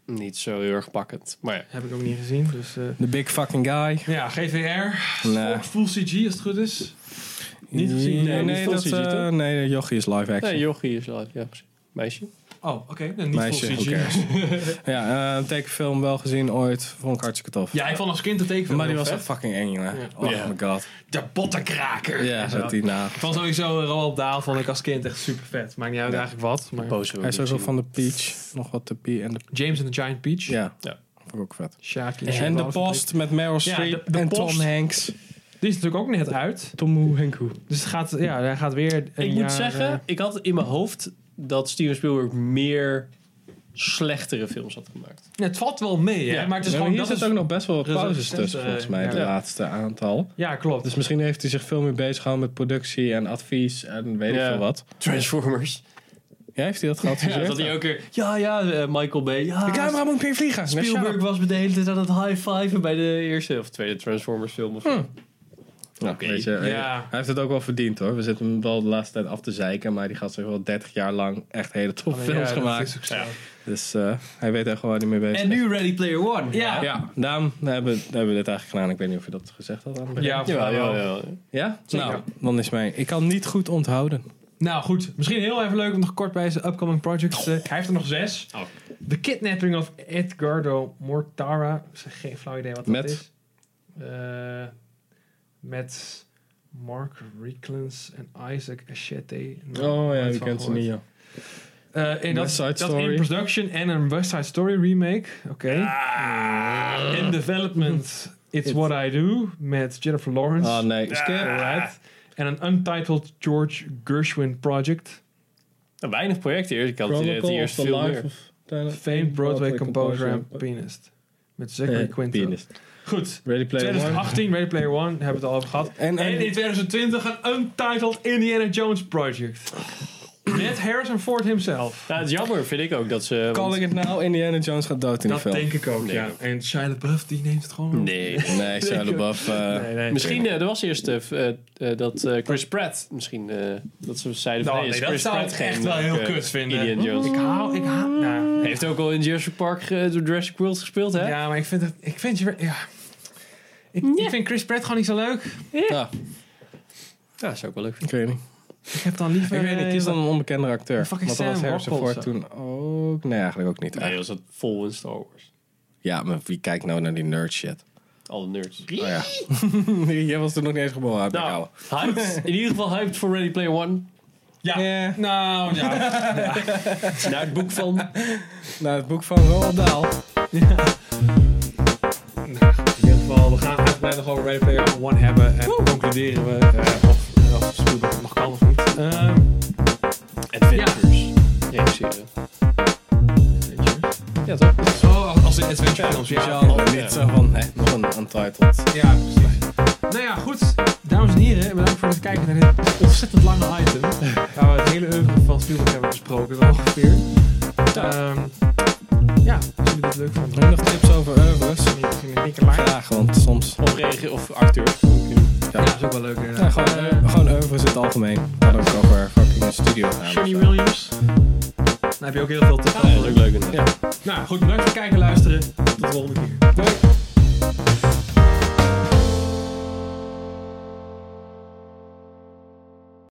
[SPEAKER 3] niet zo heel erg pakkend. Maar ja.
[SPEAKER 1] Heb ik ook niet gezien, dus... eh,
[SPEAKER 2] The Big Fucking Guy.
[SPEAKER 1] Ja, GVR.
[SPEAKER 2] Nee.
[SPEAKER 1] Full CG als het goed is. Niet gezien.
[SPEAKER 2] Nee,
[SPEAKER 3] Nee,
[SPEAKER 2] nee,
[SPEAKER 3] niet
[SPEAKER 2] dat,
[SPEAKER 3] full CG,
[SPEAKER 2] eh,
[SPEAKER 3] toch?
[SPEAKER 2] nee, Jochie is live action.
[SPEAKER 3] Nee, Jochie is al ja, gezien. Meisje.
[SPEAKER 1] Oh, oké. nou, niet
[SPEAKER 2] Meisje,
[SPEAKER 1] full
[SPEAKER 2] who
[SPEAKER 1] CG.
[SPEAKER 2] cares? ja, eh, een tekenfilm wel gezien ooit. Vond ik hartstikke tof.
[SPEAKER 1] Ja, ik vond als kind dat tekenfilm
[SPEAKER 2] maar die
[SPEAKER 1] heel
[SPEAKER 2] was echt
[SPEAKER 1] vet.
[SPEAKER 2] fucking eng, jongen.
[SPEAKER 1] Ja.
[SPEAKER 2] Oh
[SPEAKER 3] Ja.
[SPEAKER 2] my god.
[SPEAKER 1] De bottenkraker.
[SPEAKER 2] Ja,
[SPEAKER 1] En zo.
[SPEAKER 2] zat die na.
[SPEAKER 1] Ik vond sowieso eh, Roald Daal vond ik als kind echt super vet. Maakt niet uit
[SPEAKER 2] Ja.
[SPEAKER 1] eigenlijk wat. Maar...
[SPEAKER 3] Boos wil
[SPEAKER 2] Hij
[SPEAKER 3] ik
[SPEAKER 2] is
[SPEAKER 3] niet
[SPEAKER 2] ook wel
[SPEAKER 3] zien.
[SPEAKER 2] van de Peach. Nog wat de P en de...
[SPEAKER 1] James and the Giant Peach.
[SPEAKER 2] Ja,
[SPEAKER 3] Ja.
[SPEAKER 2] vond ik ook vet.
[SPEAKER 1] Shaq in
[SPEAKER 2] En de
[SPEAKER 1] chocoladefabriek.
[SPEAKER 2] Post met Meryl
[SPEAKER 1] Ja,
[SPEAKER 2] Streep
[SPEAKER 1] de- de
[SPEAKER 2] en
[SPEAKER 1] Post.
[SPEAKER 2] Tom Hanks.
[SPEAKER 1] Die is natuurlijk ook net uit.
[SPEAKER 2] Tom Hoe Henku.
[SPEAKER 1] Dus het gaat, ja,
[SPEAKER 2] eh,
[SPEAKER 1] hij gaat weer een
[SPEAKER 3] Ik
[SPEAKER 1] jaar,
[SPEAKER 3] moet zeggen,
[SPEAKER 1] eh,
[SPEAKER 3] ik had in mijn hoofd dat Steven Spielberg meer slechtere films had gemaakt.
[SPEAKER 1] eh, Ja, het valt wel mee, hè?
[SPEAKER 3] Ja.
[SPEAKER 1] Maar het is
[SPEAKER 2] Ja,
[SPEAKER 1] gewoon...
[SPEAKER 2] maar hier
[SPEAKER 1] dat
[SPEAKER 2] zit ook
[SPEAKER 1] is-
[SPEAKER 2] nog best wel wat
[SPEAKER 1] dat is
[SPEAKER 2] pauzes
[SPEAKER 1] recent,
[SPEAKER 2] tussen,
[SPEAKER 1] eh,
[SPEAKER 2] volgens mij,
[SPEAKER 1] ja.
[SPEAKER 2] de
[SPEAKER 1] Ja.
[SPEAKER 2] laatste aantal.
[SPEAKER 1] Ja, klopt.
[SPEAKER 2] Dus misschien heeft hij zich veel meer bezig gehouden met productie en advies en weet ik
[SPEAKER 3] Ja.
[SPEAKER 2] veel wat.
[SPEAKER 3] Transformers.
[SPEAKER 2] Ja, heeft hij dat
[SPEAKER 3] Ja,
[SPEAKER 2] geadviseerd?
[SPEAKER 3] dat hij ook weer... Ja, ja, eh, Michael Bay. Ja,
[SPEAKER 2] De camera moet weer vliegen.
[SPEAKER 3] Spielberg was de hele tijd aan het high-fiven bij de eerste of tweede Transformers film of zo.
[SPEAKER 2] Hm. Nou,
[SPEAKER 3] Oké.
[SPEAKER 2] weet je,
[SPEAKER 1] Ja.
[SPEAKER 2] Hij heeft het ook wel verdiend hoor. We zitten hem wel de laatste tijd af te zeiken. Maar die gast heeft wel 30 jaar lang echt hele toffe
[SPEAKER 1] Alleen, Oh, ja,
[SPEAKER 2] films
[SPEAKER 1] dat
[SPEAKER 2] gemaakt.
[SPEAKER 1] is ook zo.
[SPEAKER 3] Ja.
[SPEAKER 2] Dus eh, hij weet echt wel waar hij mee bezig
[SPEAKER 3] En nu Ready Player One.
[SPEAKER 1] Ja.
[SPEAKER 2] is. Ja, daarom hebben, hebben we dit eigenlijk gedaan. Ik weet niet of je dat gezegd had aan het begin.
[SPEAKER 1] Ja,
[SPEAKER 3] Jawel, jawel, jawel.
[SPEAKER 2] Ja?
[SPEAKER 1] Zeker.
[SPEAKER 2] Nou, dan is mijn... Ik kan niet goed onthouden.
[SPEAKER 1] Nou goed, misschien heel even leuk om nog kort bij zijn upcoming projects. eh, hij heeft er nog zes.
[SPEAKER 3] Oh.
[SPEAKER 1] The Kidnapping of Edgardo Mortara. Ik heb geen flauw idee wat dat
[SPEAKER 2] Met?
[SPEAKER 1] is. Eh, met Mark Recklins en Isaac Achete. Nou,
[SPEAKER 2] Oh ja, je kent ze niet, ja.
[SPEAKER 1] en Eh, dat,
[SPEAKER 2] West Side
[SPEAKER 1] dat
[SPEAKER 2] Story.
[SPEAKER 1] in production en een West Side Story remake. Oké. In development, It's,
[SPEAKER 2] It's-
[SPEAKER 1] What I Do met Jennifer Lawrence.
[SPEAKER 2] Oh nee, skip.
[SPEAKER 1] Alright. En een untitled George Gershwin project.
[SPEAKER 2] Eh,
[SPEAKER 3] Nou, weinig projecten eerst. Ik had het idee dat
[SPEAKER 2] Chronicle
[SPEAKER 3] hij eerst
[SPEAKER 2] of the
[SPEAKER 3] veel meer...
[SPEAKER 2] Life of... Tyler-
[SPEAKER 1] Famed Broadway composer en
[SPEAKER 2] Eh,
[SPEAKER 1] pianist. Met Zachary Quinto.
[SPEAKER 2] pianist.
[SPEAKER 1] Goed.
[SPEAKER 2] Ready Player One.
[SPEAKER 1] 2018, Ready Player One, hebben we het al over gehad.
[SPEAKER 2] En,
[SPEAKER 1] En in
[SPEAKER 2] en
[SPEAKER 1] 2020 een Untitled Indiana Jones Project. Met Harrison Ford himself.
[SPEAKER 3] Nou, het is jammer, vind ik ook, dat ze... want-
[SPEAKER 2] Calling It Now, Indiana Jones gaat dood in
[SPEAKER 1] dat
[SPEAKER 2] die film.
[SPEAKER 1] denk ik ook,
[SPEAKER 3] Nee.
[SPEAKER 1] ja. En Shia LaBeouf, die neemt het gewoon op.
[SPEAKER 3] Nee.
[SPEAKER 2] Nee, Shia LaBeouf... eh,
[SPEAKER 1] Nee, nee.
[SPEAKER 3] Misschien, eh, er was eerst eh, f- eh, eh, dat eh, Chris Pratt, misschien, eh, dat ze zeiden van,
[SPEAKER 1] Nou, nee,
[SPEAKER 3] hey, is
[SPEAKER 1] dat
[SPEAKER 3] Chris
[SPEAKER 1] zou
[SPEAKER 3] Pratt
[SPEAKER 1] ik echt
[SPEAKER 3] geen,
[SPEAKER 1] wel heel
[SPEAKER 3] eh,
[SPEAKER 1] kut vinden.
[SPEAKER 3] Indiana Jones.
[SPEAKER 1] Ik hou, ik hou, nou,
[SPEAKER 3] Hij heeft ook al in Jurassic Park, eh, door Jurassic World gespeeld, hè?
[SPEAKER 1] Ja, maar ik vind het, ik vind je, ja. Ik, ik vind Chris Pratt gewoon niet zo leuk.
[SPEAKER 2] Ja,
[SPEAKER 3] Ja, zou ik wel leuk vinden.
[SPEAKER 2] Ah, ik weet niet.
[SPEAKER 1] Ik heb dan liever...
[SPEAKER 2] Ik weet niet,
[SPEAKER 1] eh,
[SPEAKER 2] kies dan een onbekendere acteur.
[SPEAKER 1] Fucking
[SPEAKER 2] Want
[SPEAKER 1] Sam
[SPEAKER 2] dan was Harrison
[SPEAKER 1] Rockwell
[SPEAKER 2] Ford toen ook... Nee, eigenlijk ook niet.
[SPEAKER 3] Nee, was dat vol in Star Wars.
[SPEAKER 2] Ja, maar wie kijkt nou naar die nerd shit?
[SPEAKER 3] Alle nerds.
[SPEAKER 2] Oh ja. Jij was toen nog niet eens geboren, heb ik
[SPEAKER 3] Nou,
[SPEAKER 2] ouwe.
[SPEAKER 3] hyped, in ieder geval hyped voor Ready Player One.
[SPEAKER 1] Ja.
[SPEAKER 2] Eh,
[SPEAKER 1] Nou, ja.
[SPEAKER 3] Naar het boek van...
[SPEAKER 2] Nou, het boek van Roald Dahl.
[SPEAKER 1] In ieder geval, we gaan uitgebreid nog over Ready Player One hebben. En concluderen we eh, of, eh, of Spielberg het nog kan of niet. Ehm,
[SPEAKER 3] Adventures. Regisseren. Ja, toch?
[SPEAKER 1] oh, als in adventure films. Ja,
[SPEAKER 2] Speciaal niet zo van, hè, nog een untitled.
[SPEAKER 1] ja, precies. Nou ja, goed. Dames en heren, bedankt voor het kijken naar dit ontzettend lange item. Waar we het hele oeuvre van Spielberg hebben besproken, zo ongeveer. Ehm, ja, als jullie dit leuk vonden.
[SPEAKER 2] Heb je nog tips over oeuvres?
[SPEAKER 1] misschien een dikke like.
[SPEAKER 2] Graag, want soms...
[SPEAKER 3] Of, regi- of acteur.
[SPEAKER 1] Ja, dat is ook wel leuk. inderdaad.
[SPEAKER 2] Ja, gewoon,
[SPEAKER 1] Eh,
[SPEAKER 2] eh, gewoon oeuvres in het algemeen. Maar ook over fucking een studio dus, eh. gaan.
[SPEAKER 3] Johnny Williams.
[SPEAKER 1] dan heb je ook heel veel te
[SPEAKER 3] Ja, dat is ook leuk inderdaad.
[SPEAKER 1] Nou, goed. Bedankt voor het kijken en luisteren. Tot de volgende keer.